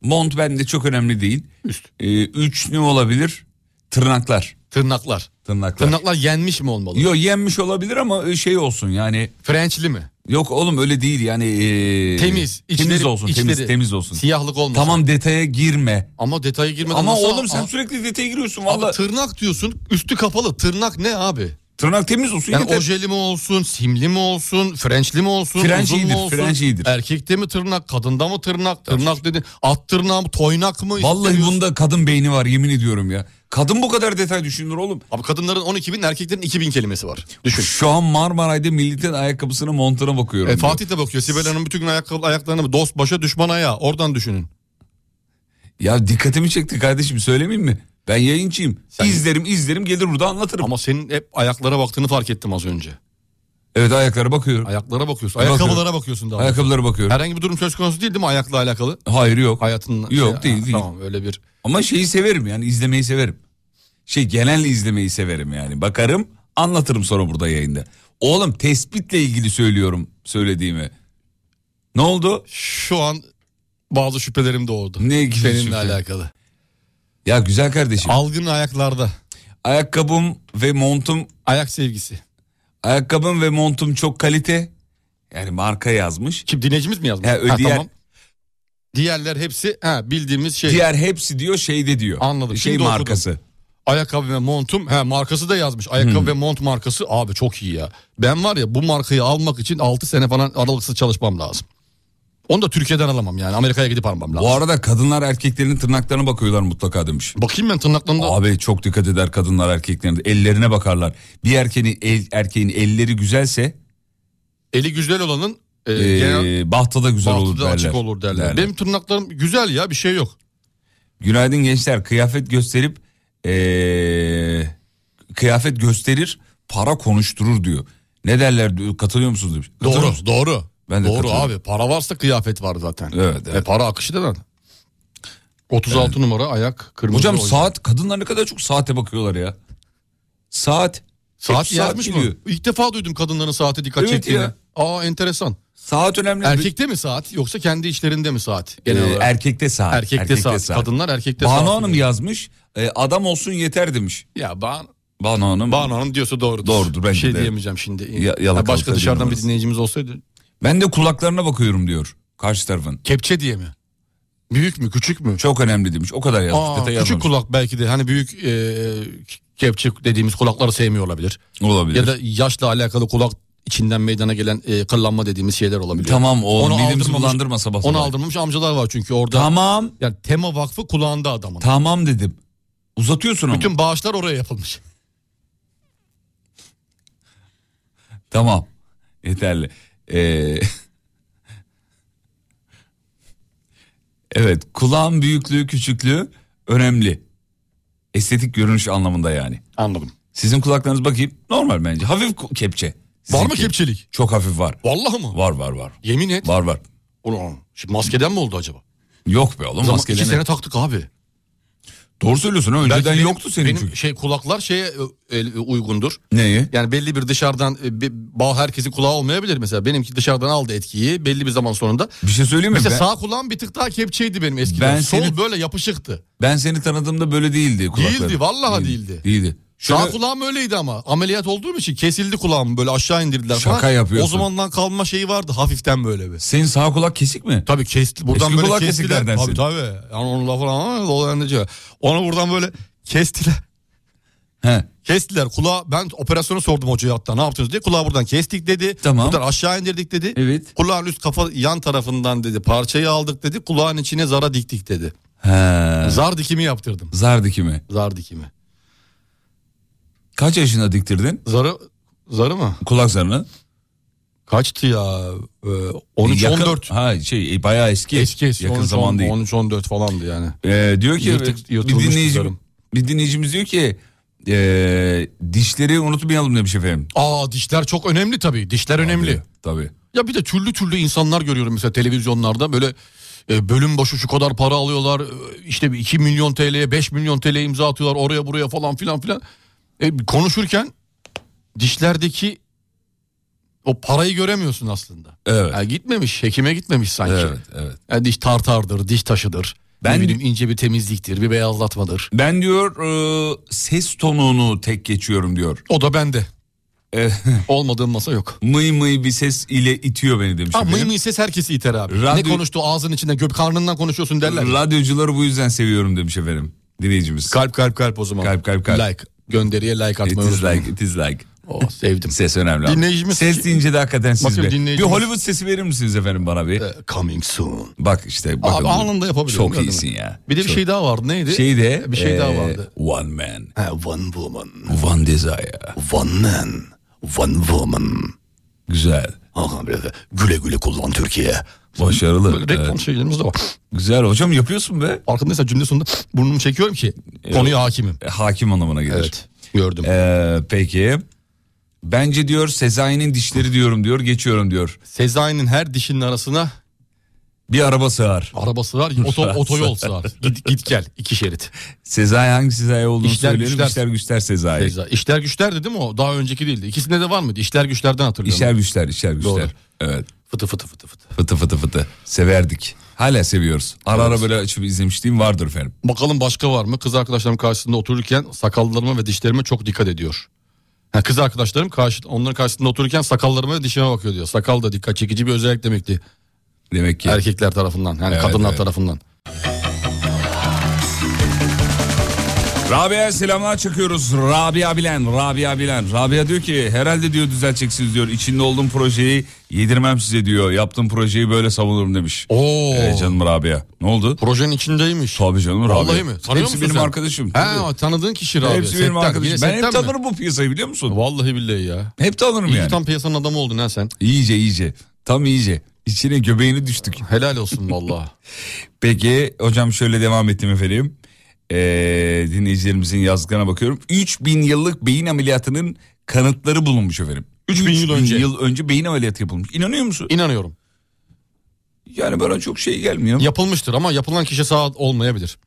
Mont bende çok önemli değil. Üst. Ee, üç ne olabilir? Tırnaklar. Tırnaklar. Tırnaklar. Tırnaklar yenmiş mi olmalı? Yo yenmiş olabilir ama şey olsun yani Frenchli mi? yok oğlum öyle değil yani ee, Temiz. içleri- temiz olsun temiz içleri temiz olsun Siyahlık olmasın. tamam detaya girme Ama detaya girmeden ama nasıl- oğlum sen Aa, sürekli detaya giriyorsun abi valla tırnak diyorsun üstü kapalı tırnak ne abi? tırnak temiz olsun Yani yeter. ojeli mi olsun, simli mi olsun, frençli mi olsun, French uzun iyidir, mu olsun? French iyidir. Erkekte mi tırnak, kadında mı tırnak, tırnak dedi. At tırnağı mı, toynak mı? Vallahi istemiyorsun? bunda kadın beyni var yemin ediyorum ya. Kadın bu kadar detay düşünür oğlum. Abi kadınların 12 bin, erkeklerin 2 bin kelimesi var. Düşün. Şu an Marmaray'da milletin ayakkabısına montuna bakıyorum. E, diyor. Fatih de bakıyor. Sibel Hanım bütün gün ayakkabı, ayaklarını dost başa düşman ayağa. Oradan düşünün. Ya dikkatimi çekti kardeşim söylemeyeyim mi? Ben yayıncıyım. İzlerim izlerim gelir burada anlatırım. Ama senin hep ayaklara baktığını fark ettim az önce. Evet ayakkabılara bakıyorum. Ayaklara bakıyorsun. Bakıyorum. Ayakkabılara bakıyorsun daha. doğrusu. Ayakkabılara bakıyorum. Herhangi bir durum söz konusu değil değil mi ayakla alakalı? Hayır yok. Hayatın Yok, değil, değil. Tamam öyle bir. Ama şeyi severim yani izlemeyi severim. Şey genel izlemeyi severim yani. Bakarım anlatırım sonra burada yayında. Oğlum tespitle ilgili söylüyorum söylediğimi. Ne oldu? Şu an bazı şüphelerim doğdu. Ne ilgili Seninle şüphe? alakalı. Ya güzel kardeşim. Algın ayaklarda. Ayakkabım ve montum Ayak sevgisi. Ayakkabım ve montum çok kalite. Yani marka yazmış. Kim dinleyicimiz mi yazmış? He, ö- diğer- Diğerler hepsi ha, bildiğimiz şey. Diğer hepsi diyor şeyde diyor. Anladım, Şey şimdi markası. Ayakkabı ve montum. Ha, markası da yazmış. Ayakkabı Hmm. ve mont markası. Abi çok iyi ya. Ben var ya bu markayı almak için 6 sene falan aralıksız çalışmam lazım. Onu da Türkiye'den alamam yani. Amerika'ya gidip almam lazım. Bu arada kadınlar erkeklerin tırnaklarına bakıyorlar mutlaka demiş. Bakayım ben tırnaklarında. Abi çok dikkat eder kadınlar erkeklerin ellerine bakarlar. Bir erkeğin el, erkeğin elleri güzelse Eli güzel olanın e, e, genel bahtı da güzel olur Batıda derler. açık olur derler. Benim tırnaklarım güzel ya bir şey yok. Günaydın gençler kıyafet gösterip e, kıyafet gösterir para konuşturur diyor. Ne derler diyor, katılıyor musunuz demiş. Katılıyorum. Doğru doğru. Ben de doğru katılıyorum. abi para varsa kıyafet var zaten. Evet, Ve evet. para akışı da var. 36 numara ayak kırmızı. Hocam oyun. saat kadınlar ne kadar çok saate bakıyorlar ya. Saat. saat Hep yazmış geliyor. mı? İlk defa duydum kadınların saate dikkat Evet çektiğini. ya. Aa enteresan. Saat önemli. Erkekte mi saat yoksa kendi işlerinde mi saat? Ee, Genel olarak. erkekte saat. erkekte, saat. Kadınlar erkekte saat. Banu Hanım yazmış. e, adam olsun yeter demiş. Ya ban Banu Hanım. Banu Hanım diyorsa doğrudur. Doğrudur, bence Bir şey de. diyemeyeceğim şimdi. Ya- yalakalık başka dışarıdan bir ediyoruz. dinleyicimiz olsaydı. Ben de kulaklarına bakıyorum diyor. Karşı tarafın. Kepçe diye mi? Büyük mü küçük mü? Çok önemli demiş. O kadar yazmış. Aa, detay küçük yazmamış. kulak belki de hani büyük e, kepçe dediğimiz kulakları sevmiyor olabilir. Olabilir. Ya da yaşla alakalı kulak içinden meydana gelen e, kıllanma dediğimiz şeyler olabilir. Tamam oğlum. Dilimizi aldırmamış- bulandırma sabah Onu sabah. aldırmamış amcalar var çünkü orada. Tamam. Yani tema vakfı kulağında adamın. Tamam dedim. Uzatıyorsun ama. Bütün bağışlar oraya yapılmış. Tamam. Yeterli. Ee, evet kulağın büyüklüğü küçüklüğü önemli. Estetik görünüş anlamında yani. Anladım. Sizin kulaklarınız bakayım normal bence. Hafif ku- kepçe. Var mı Sizinki. kepçelik? Çok hafif var. Vallahi mı? Var var var. Yemin et. Var var. Ulan, şimdi maskeden mi oldu acaba? Yok be oğlum Zaman maskelerine- iki sene taktık abi. Doğru söylüyorsun. ha, Önceden Belki benim- yoktu senin benim çünkü. şey kulaklar şeye e, e, uygundur. Neyi? Yani belli bir dışarıdan e, bir bağ herkesin kulağı olmayabilir mesela. Benimki dışarıdan aldı etkiyi belli bir zaman sonunda. Bir şey söyleyeyim mi? Mesela Ben, sağ kulağım bir tık daha kepçeydi benim eskiden. Ben Sol seni- böyle yapışıktı. ben seni tanıdığımda böyle değildi kulakları. Değildi, vallahi değildi. Değildi. Şöyle- Sağ kulağım öyleydi ama ameliyat olduğum için kesildi kulağım böyle aşağı indirdiler falan. Şaka yapıyorsun. O zamandan kalma şeyi vardı hafiften böyle bir. senin sağ kulak kesik mi? Tabii kesti buradan Eski kulak böyle kestiler. kesiklerden Tabii senin. şey- tabii. Yani onun lafı falan ama dolandırıcı. Onu buradan böyle kestiler. He. Kestiler kulağı ben operasyonu sordum hocaya hatta ne yaptınız diye kulağı buradan kestik dedi. Tamam. Buradan aşağı indirdik dedi. Evet. Kulağın üst kafa yan tarafından dedi parçayı aldık dedi kulağın içine zara diktik dedi. He. Zar dikimi yaptırdım Zar dikimi. zar dikimi. Kaç yaşında diktirdin Zarı zarı mı? kulak zarını? Kaçtı ya Ee, 13 Yakın- 14 Ha şey e, bayağı eski. eski eski Yakın 13, zaman değil. 13 14 falandı yani. Ee, diyor ki Yırtık- bir yırtılmış dinleyici, dişlerim. bir dinleyicimiz diyor ki ee, dişleri unutmayalım demiş efendim. Aa dişler çok önemli tabii. Dişler önemli. Tabii. Ya bir de türlü türlü insanlar görüyorum mesela televizyonlarda böyle e, bölüm başı şu kadar para alıyorlar. e, işte bir 2 milyon TL'ye 5 milyon TL imza atıyorlar oraya buraya falan filan filan. E, konuşurken dişlerdeki o parayı göremiyorsun aslında. Evet. Ya gitmemiş hekime gitmemiş sanki. Evet, evet. Ya diş tartardır, diş taşıdır. Ben Ben- ne bileyim ince bir temizliktir, bir beyazlatmadır. Ben diyor ee, ses tonunu tek geçiyorum diyor. O da bende. Ee, Olmadığım masa yok. mıy mıy bir ses ile itiyor beni demiş Ha, mıy efendim. mıy ses herkesi iter abi. Radyo- Ne konuştu ağzın içinden, göb karnından konuşuyorsun derler. Radyocuları bu yüzden seviyorum demiş efendim dinleyicimiz. Kalp kalp kalp o zaman. Kalp, kalp, kalp. Like. Gönderiye like it atmayı is unutmayın. like, it is like. Oh, sevdim. Ses önemli abi. Dinleyicimiz- Ses deyince de hakikaten siz Bakın bir. Bir dinleyicimiz- Hollywood sesi verir misiniz efendim bana bir? Ee, Coming soon. Bak işte bakın. Abi anında yapabiliyorum. Çok gördün mü? iyisin ya. Bir de bir Çok- şey daha vardı. Neydi? Şey de Bir şey daha ee, vardı. One man, Ha, one woman. one desire. One man. One woman. Güzel. Aha, böyle güle güle kullan Türkiye. Başarılı. Böyle reklam Evet. şeylerimiz de var. Güzel hocam yapıyorsun be. Farkındaysan cümle sonunda burnumu çekiyorum ki konuya hakimim. E, Hakim anlamına gelir. Evet. Gördüm. Ee, peki. Bence diyor Sezai'nin dişleri diyorum diyor geçiyorum diyor. Sezai'nin her dişinin arasına Bir araba sığar. arabası var. Oto, otoyol sığar. Git, git gel. iki şerit. Sezai hangi Sezai olduğunu İşler söyleyelim. güçler. İşler güçler Sezai. Sezai. İşler güçlerdi değil mi o? Daha önceki değildi. İkisinde de var mıydı? İşler güçlerden hatırlıyorum. İşler güçler işler güçler. Doğru. Evet. Fıtı fıtı fıtı fıtı. Fıtı fıtı fıtı. Severdik. Hala seviyoruz. Ara ara böyle açıp izlemişliğim vardır efendim. Bakalım başka var mı? Kız arkadaşlarım karşısında otururken sakallarıma ve dişlerime çok dikkat ediyor. Ha, kız arkadaşlarım karşı, onların karşısında otururken sakallarıma ve dişime bakıyor diyor. Sakal da dikkat çekici bir özellik demekti. Demek ki. Erkekler tarafından yani Evet, kadınlar evet. tarafından. Rabia'ya selamlar çakıyoruz. Rabia bilen, Rabia bilen. Rabia diyor ki herhalde diyor düzelteceksiniz diyor. İçinde olduğum projeyi yedirmem size diyor. Yaptığım projeyi böyle savunurum demiş. Oo. Ee, canım Rabia. Ne oldu? Projenin içindeymiş. Tabii canım Rabia. Vallahi mi? Tanıyor Hepsi musun benim sen? arkadaşım. Ha, tanıdığın kişi abi. Hepsi benim Setten. arkadaşım. Yine Ben hep setten mi? tanırım bu piyasayı biliyor musun? Vallahi billahi ya. Hep tanırım İyi yani. ki tam piyasanın adamı oldun ha sen. İyice iyice. Tam iyice. İçine göbeğini düştük. Helal olsun vallahi. Peki hocam şöyle devam ettim efendim. Ee, dinleyicilerimizin yazdıklarına bakıyorum. 3000 yıllık beyin ameliyatının kanıtları bulunmuş efendim. 3000 yıl önce. yıl önce beyin ameliyatı yapılmış. İnanıyor musun? İnanıyorum. Yani bana çok şey gelmiyor. Yapılmıştır ama yapılan kişi sağ olmayabilir.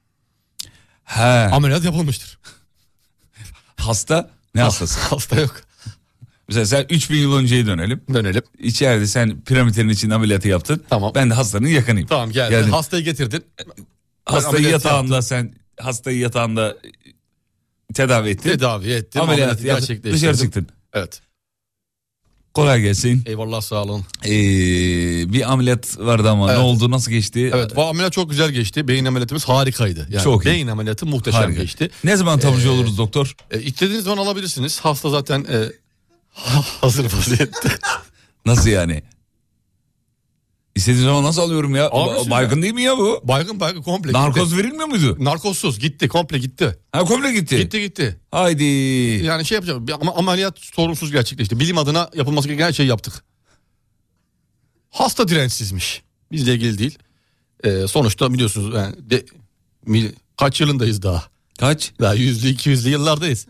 He, Ameliyat yapılmıştır. hasta ne hastası? Hasta yok. Ah. Mesela sen 3000 yıl önceye dönelim. Dönelim. İçeride sen piramitlerin içinde ameliyatı yaptın. Tamam. Ben de hastanın yakınıyım. Tamam geldi. Geldin. Hastayı getirdin. hastayı ameliyatı yatağında sen hastayı yatağında tedavi ettin. Tedavi ettim. ameliyatı yaptın. gerçekleştirdim. Dışarı çıktın. Evet. Kolay gelsin. Eyvallah sağ olun. Ee, bir ameliyat vardı ama Evet. ne oldu nasıl geçti? Evet bu ameliyat çok güzel geçti. Beyin ameliyatımız harikaydı. Yani Çok iyi. Beyin ameliyatı muhteşem Harika. geçti. Ne zaman taburcu oluruz doktor? E, istediğiniz zaman alabilirsiniz. Hasta zaten e, hazır vaziyette. Nasıl yani? İstediğin zaman nasıl alıyorum ya? Alırsın Ba- ya. Baygın değil mi ya bu? baygın baygın komple gitti. Narkoz verilmiyor muydu? Narkozsuz gitti komple gitti. Ha komple gitti. Gitti gitti. Haydi. Yani şey yapacağım bir- ama ameliyat sorunsuz gerçekleşti. Bilim adına yapılması gereken her şeyi yaptık. Hasta dirençsizmiş. Bizle ilgili değil. E, sonuçta biliyorsunuz yani de, mil- kaç yılındayız daha? Kaç? Daha yüzlü iki yüzlü yıllardayız.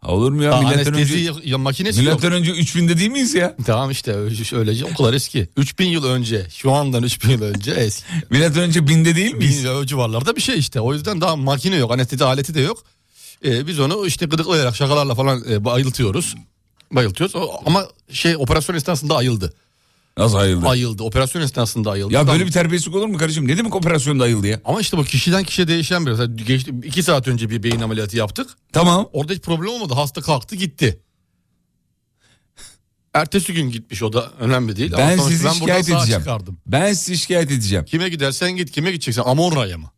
Ha, olur mu ya? Daha milletten önce, anestezi ya- makinesi yok. milletten önce 3000'de değil miyiz ya? Tamam işte öyle- öylece o kadar eski. 3000 yıl önce şu andan 3000 yıl önce eski. Milletten önce 1000'de değil Bin miyiz? yıl o civarlarda bir şey işte. O yüzden daha makine yok anestezi aleti de yok. Ee, biz onu işte gıdıklayarak şakalarla falan e, bayıltıyoruz. Bayıltıyoruz O- ama şey operasyon esnasında ayıldı. Nasıl ayıldı? Ayıldı operasyon esnasında ayıldı. ya Tam- böyle bir terbiyesizlik olur mu kardeşim? Ne demek operasyonda ayıldı ya? Ama işte bu kişiden kişiye değişen biraz. Yani Geçti, iki saat önce bir beyin ameliyatı yaptık. Tamam. Orada hiç problem olmadı. Hasta kalktı gitti. Ertesi gün gitmiş o da önemli değil. Ama Ben sonuçta sizi ben buradan şikayet sağ edeceğim. çıkardım. Ben sizi şikayet edeceğim. Kime gidersen git kime gideceksen Amorra'ya mı?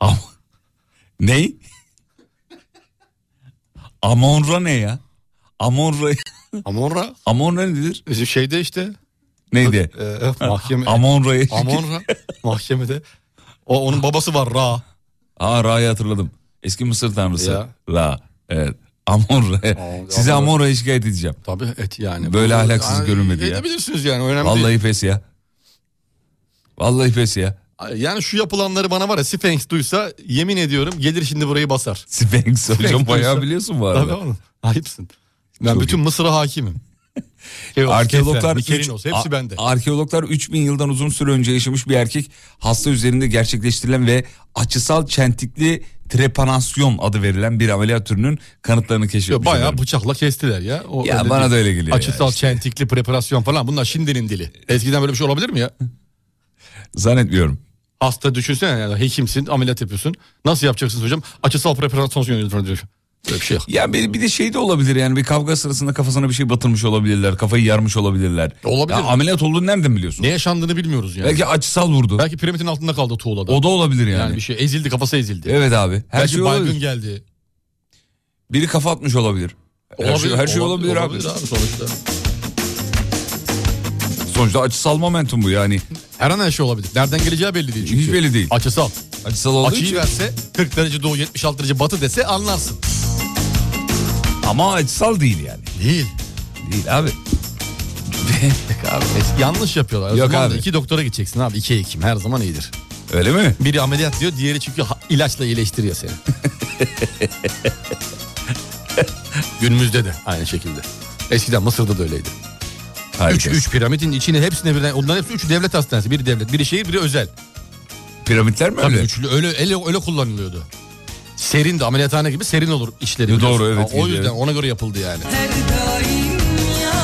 Ama Ney? Amonra ne ya? Amonra, Amonra. Amonra nedir? Bizim şeyde işte. Neydi? e, mahkeme. Amonra'yı. Amonra. Mahkemede. O, onun babası var Ra. Aa Ra'yı hatırladım. Eski Mısır tanrısı. Ya. La. Evet. Amonra. Amonra. Size Amonra'ya şikayet edeceğim. Tabii et yani. Böyle Bu- ahlaksız görünmedi ya. Edebilirsiniz yani önemli değil. Vallahi pes ya. Vallahi pes ya. Yani şu yapılanları bana var ya Sphinx duysa yemin ediyorum gelir şimdi burayı basar. Sphinx hocam Sphinx bayağı diyorsun. biliyorsun bu Tabii arada. oğlum. Ayıpsın. Ben Çok bütün Mısır'a hakimim. Keos, Arkeologlar Kefen, üç- Mikerinos hepsi a- bende. Arkeologlar 3000 yıldan uzun süre önce yaşamış bir erkek hasta üzerinde gerçekleştirilen ve açısal çentikli trepanasyon adı verilen bir ameliyat türünün kanıtlarını keşfetmiş. Bayağı efendim. bıçakla kestiler ya. O Ya bana değil. da öyle geliyor ya Açısal çentikli preparasyon falan bunlar şimdinin dili. Eskiden böyle bir şey olabilir mi ya? zannetmiyorum. Hasta düşünsene yani hekimsin ameliyat yapıyorsun. Nasıl yapacaksınız hocam? Açısal preparasyon yönetiyor. Böyle bir şey yok. Ya bir, bir de şey de olabilir yani bir kavga sırasında kafasına bir şey batırmış olabilirler, kafayı yarmış olabilirler. Olabilir. Ya ameliyat olduğunu nereden biliyorsun? Ne yaşandığını bilmiyoruz yani. Belki, Belki açısal vurdu. piramidin altında kaldı tuğlada. O da olabilir yani. yani. bir şey ezildi kafası ezildi. Evet abi. Her Belki şey baygın olabilir. geldi. Biri kafa atmış olabilir. her şey, her şey olabilir, abi. sonuçta. Sonuçta açısal momentum bu yani. Her an her şey olabilir. Nereden geleceği belli değil çünkü. Hiç belli değil. Açısal. Açısal olduğu Açıyı için. verse 40 derece doğu 76 derece batı dese anlarsın. Ama açısal değil yani. Değil. Değil abi. Abi, yanlış yapıyorlar. O Yok zaman da abi. iki doktora gideceksin abi. İki hekim her zaman iyidir. Öyle mi? Biri ameliyat diyor diğeri çünkü ha- ilaçla iyileştiriyor seni. Günümüzde de aynı şekilde. Eskiden Mısır'da da öyleydi. Üç, Harika. üç piramidin içine hepsine birden onların hepsi üç devlet hastanesi. Biri devlet, biri şehir, biri özel. Piramitler mi Tabii öyle? üçlü öyle, öyle, öyle kullanılıyordu. Serin de ameliyathane gibi serin olur işleri. biliyorsun. doğru, evet, Ha, O iyi, yüzden evet. ona göre yapıldı yani.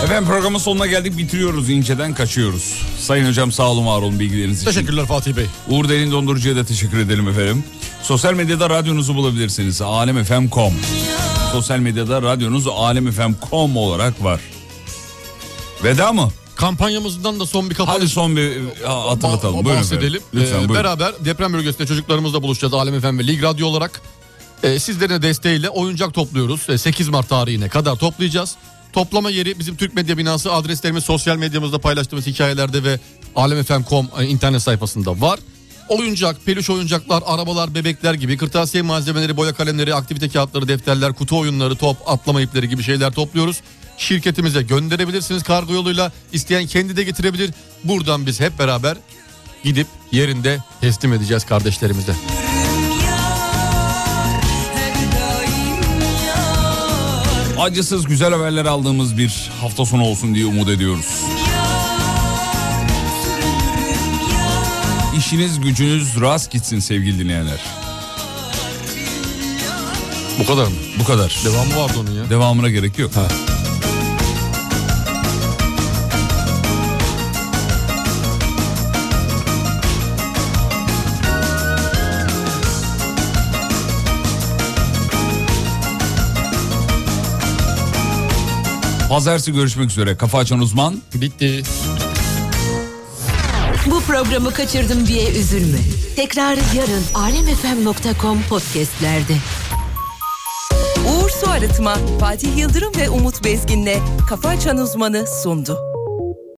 Efendim programın sonuna geldik bitiriyoruz inceden kaçıyoruz. Sayın hocam sağ olun var olun bilgileriniz için. Teşekkürler Fatih Bey. Uğur Derin Dondurucu'ya da teşekkür edelim efendim. Sosyal medyada radyonuzu bulabilirsiniz. Alemfm.com Sosyal medyada radyonuz alemfm.com olarak var. Veda mı? Kampanyamızdan da son bir kapanış. Hadi son bir e, hatırlatalım. Buyurun efendim. bahsedelim. Lütfen Ee, buyurun. Beraber deprem bölgesinde çocuklarımızla buluşacağız Alem FM ve Lig Radyo olarak. Ee, sizlerin de desteğiyle oyuncak topluyoruz. Ee, 8 Mart tarihine kadar toplayacağız. Toplama yeri bizim Türk Medya Binası adreslerimiz sosyal medyamızda paylaştığımız hikayelerde ve alemfm.com e, internet sayfasında var. Oyuncak, peluş oyuncaklar, arabalar, bebekler gibi kırtasiye malzemeleri, boya kalemleri, aktivite kağıtları, defterler, kutu oyunları, top, atlama ipleri gibi şeyler topluyoruz. Şirketimize gönderebilirsiniz kargo yoluyla. İsteyen kendi de getirebilir. Buradan biz hep beraber gidip yerinde teslim edeceğiz kardeşlerimize. Acısız güzel haberler aldığımız bir hafta sonu olsun diye umut ediyoruz. İşiniz gücünüz rast gitsin sevgili dinleyenler. Bu kadar mı? Bu kadar. Devamı vardı onun ya. Devamına gerek yok. Pazartesi görüşmek üzere. Kafa açan uzman. Bitti. Bu programı kaçırdım diye üzülme. Tekrar yarın alemfm.com podcastlerde. Uğur Su Arıtma, Fatih Yıldırım ve Umut Bezgin'le Kafa Açan Uzmanı sundu.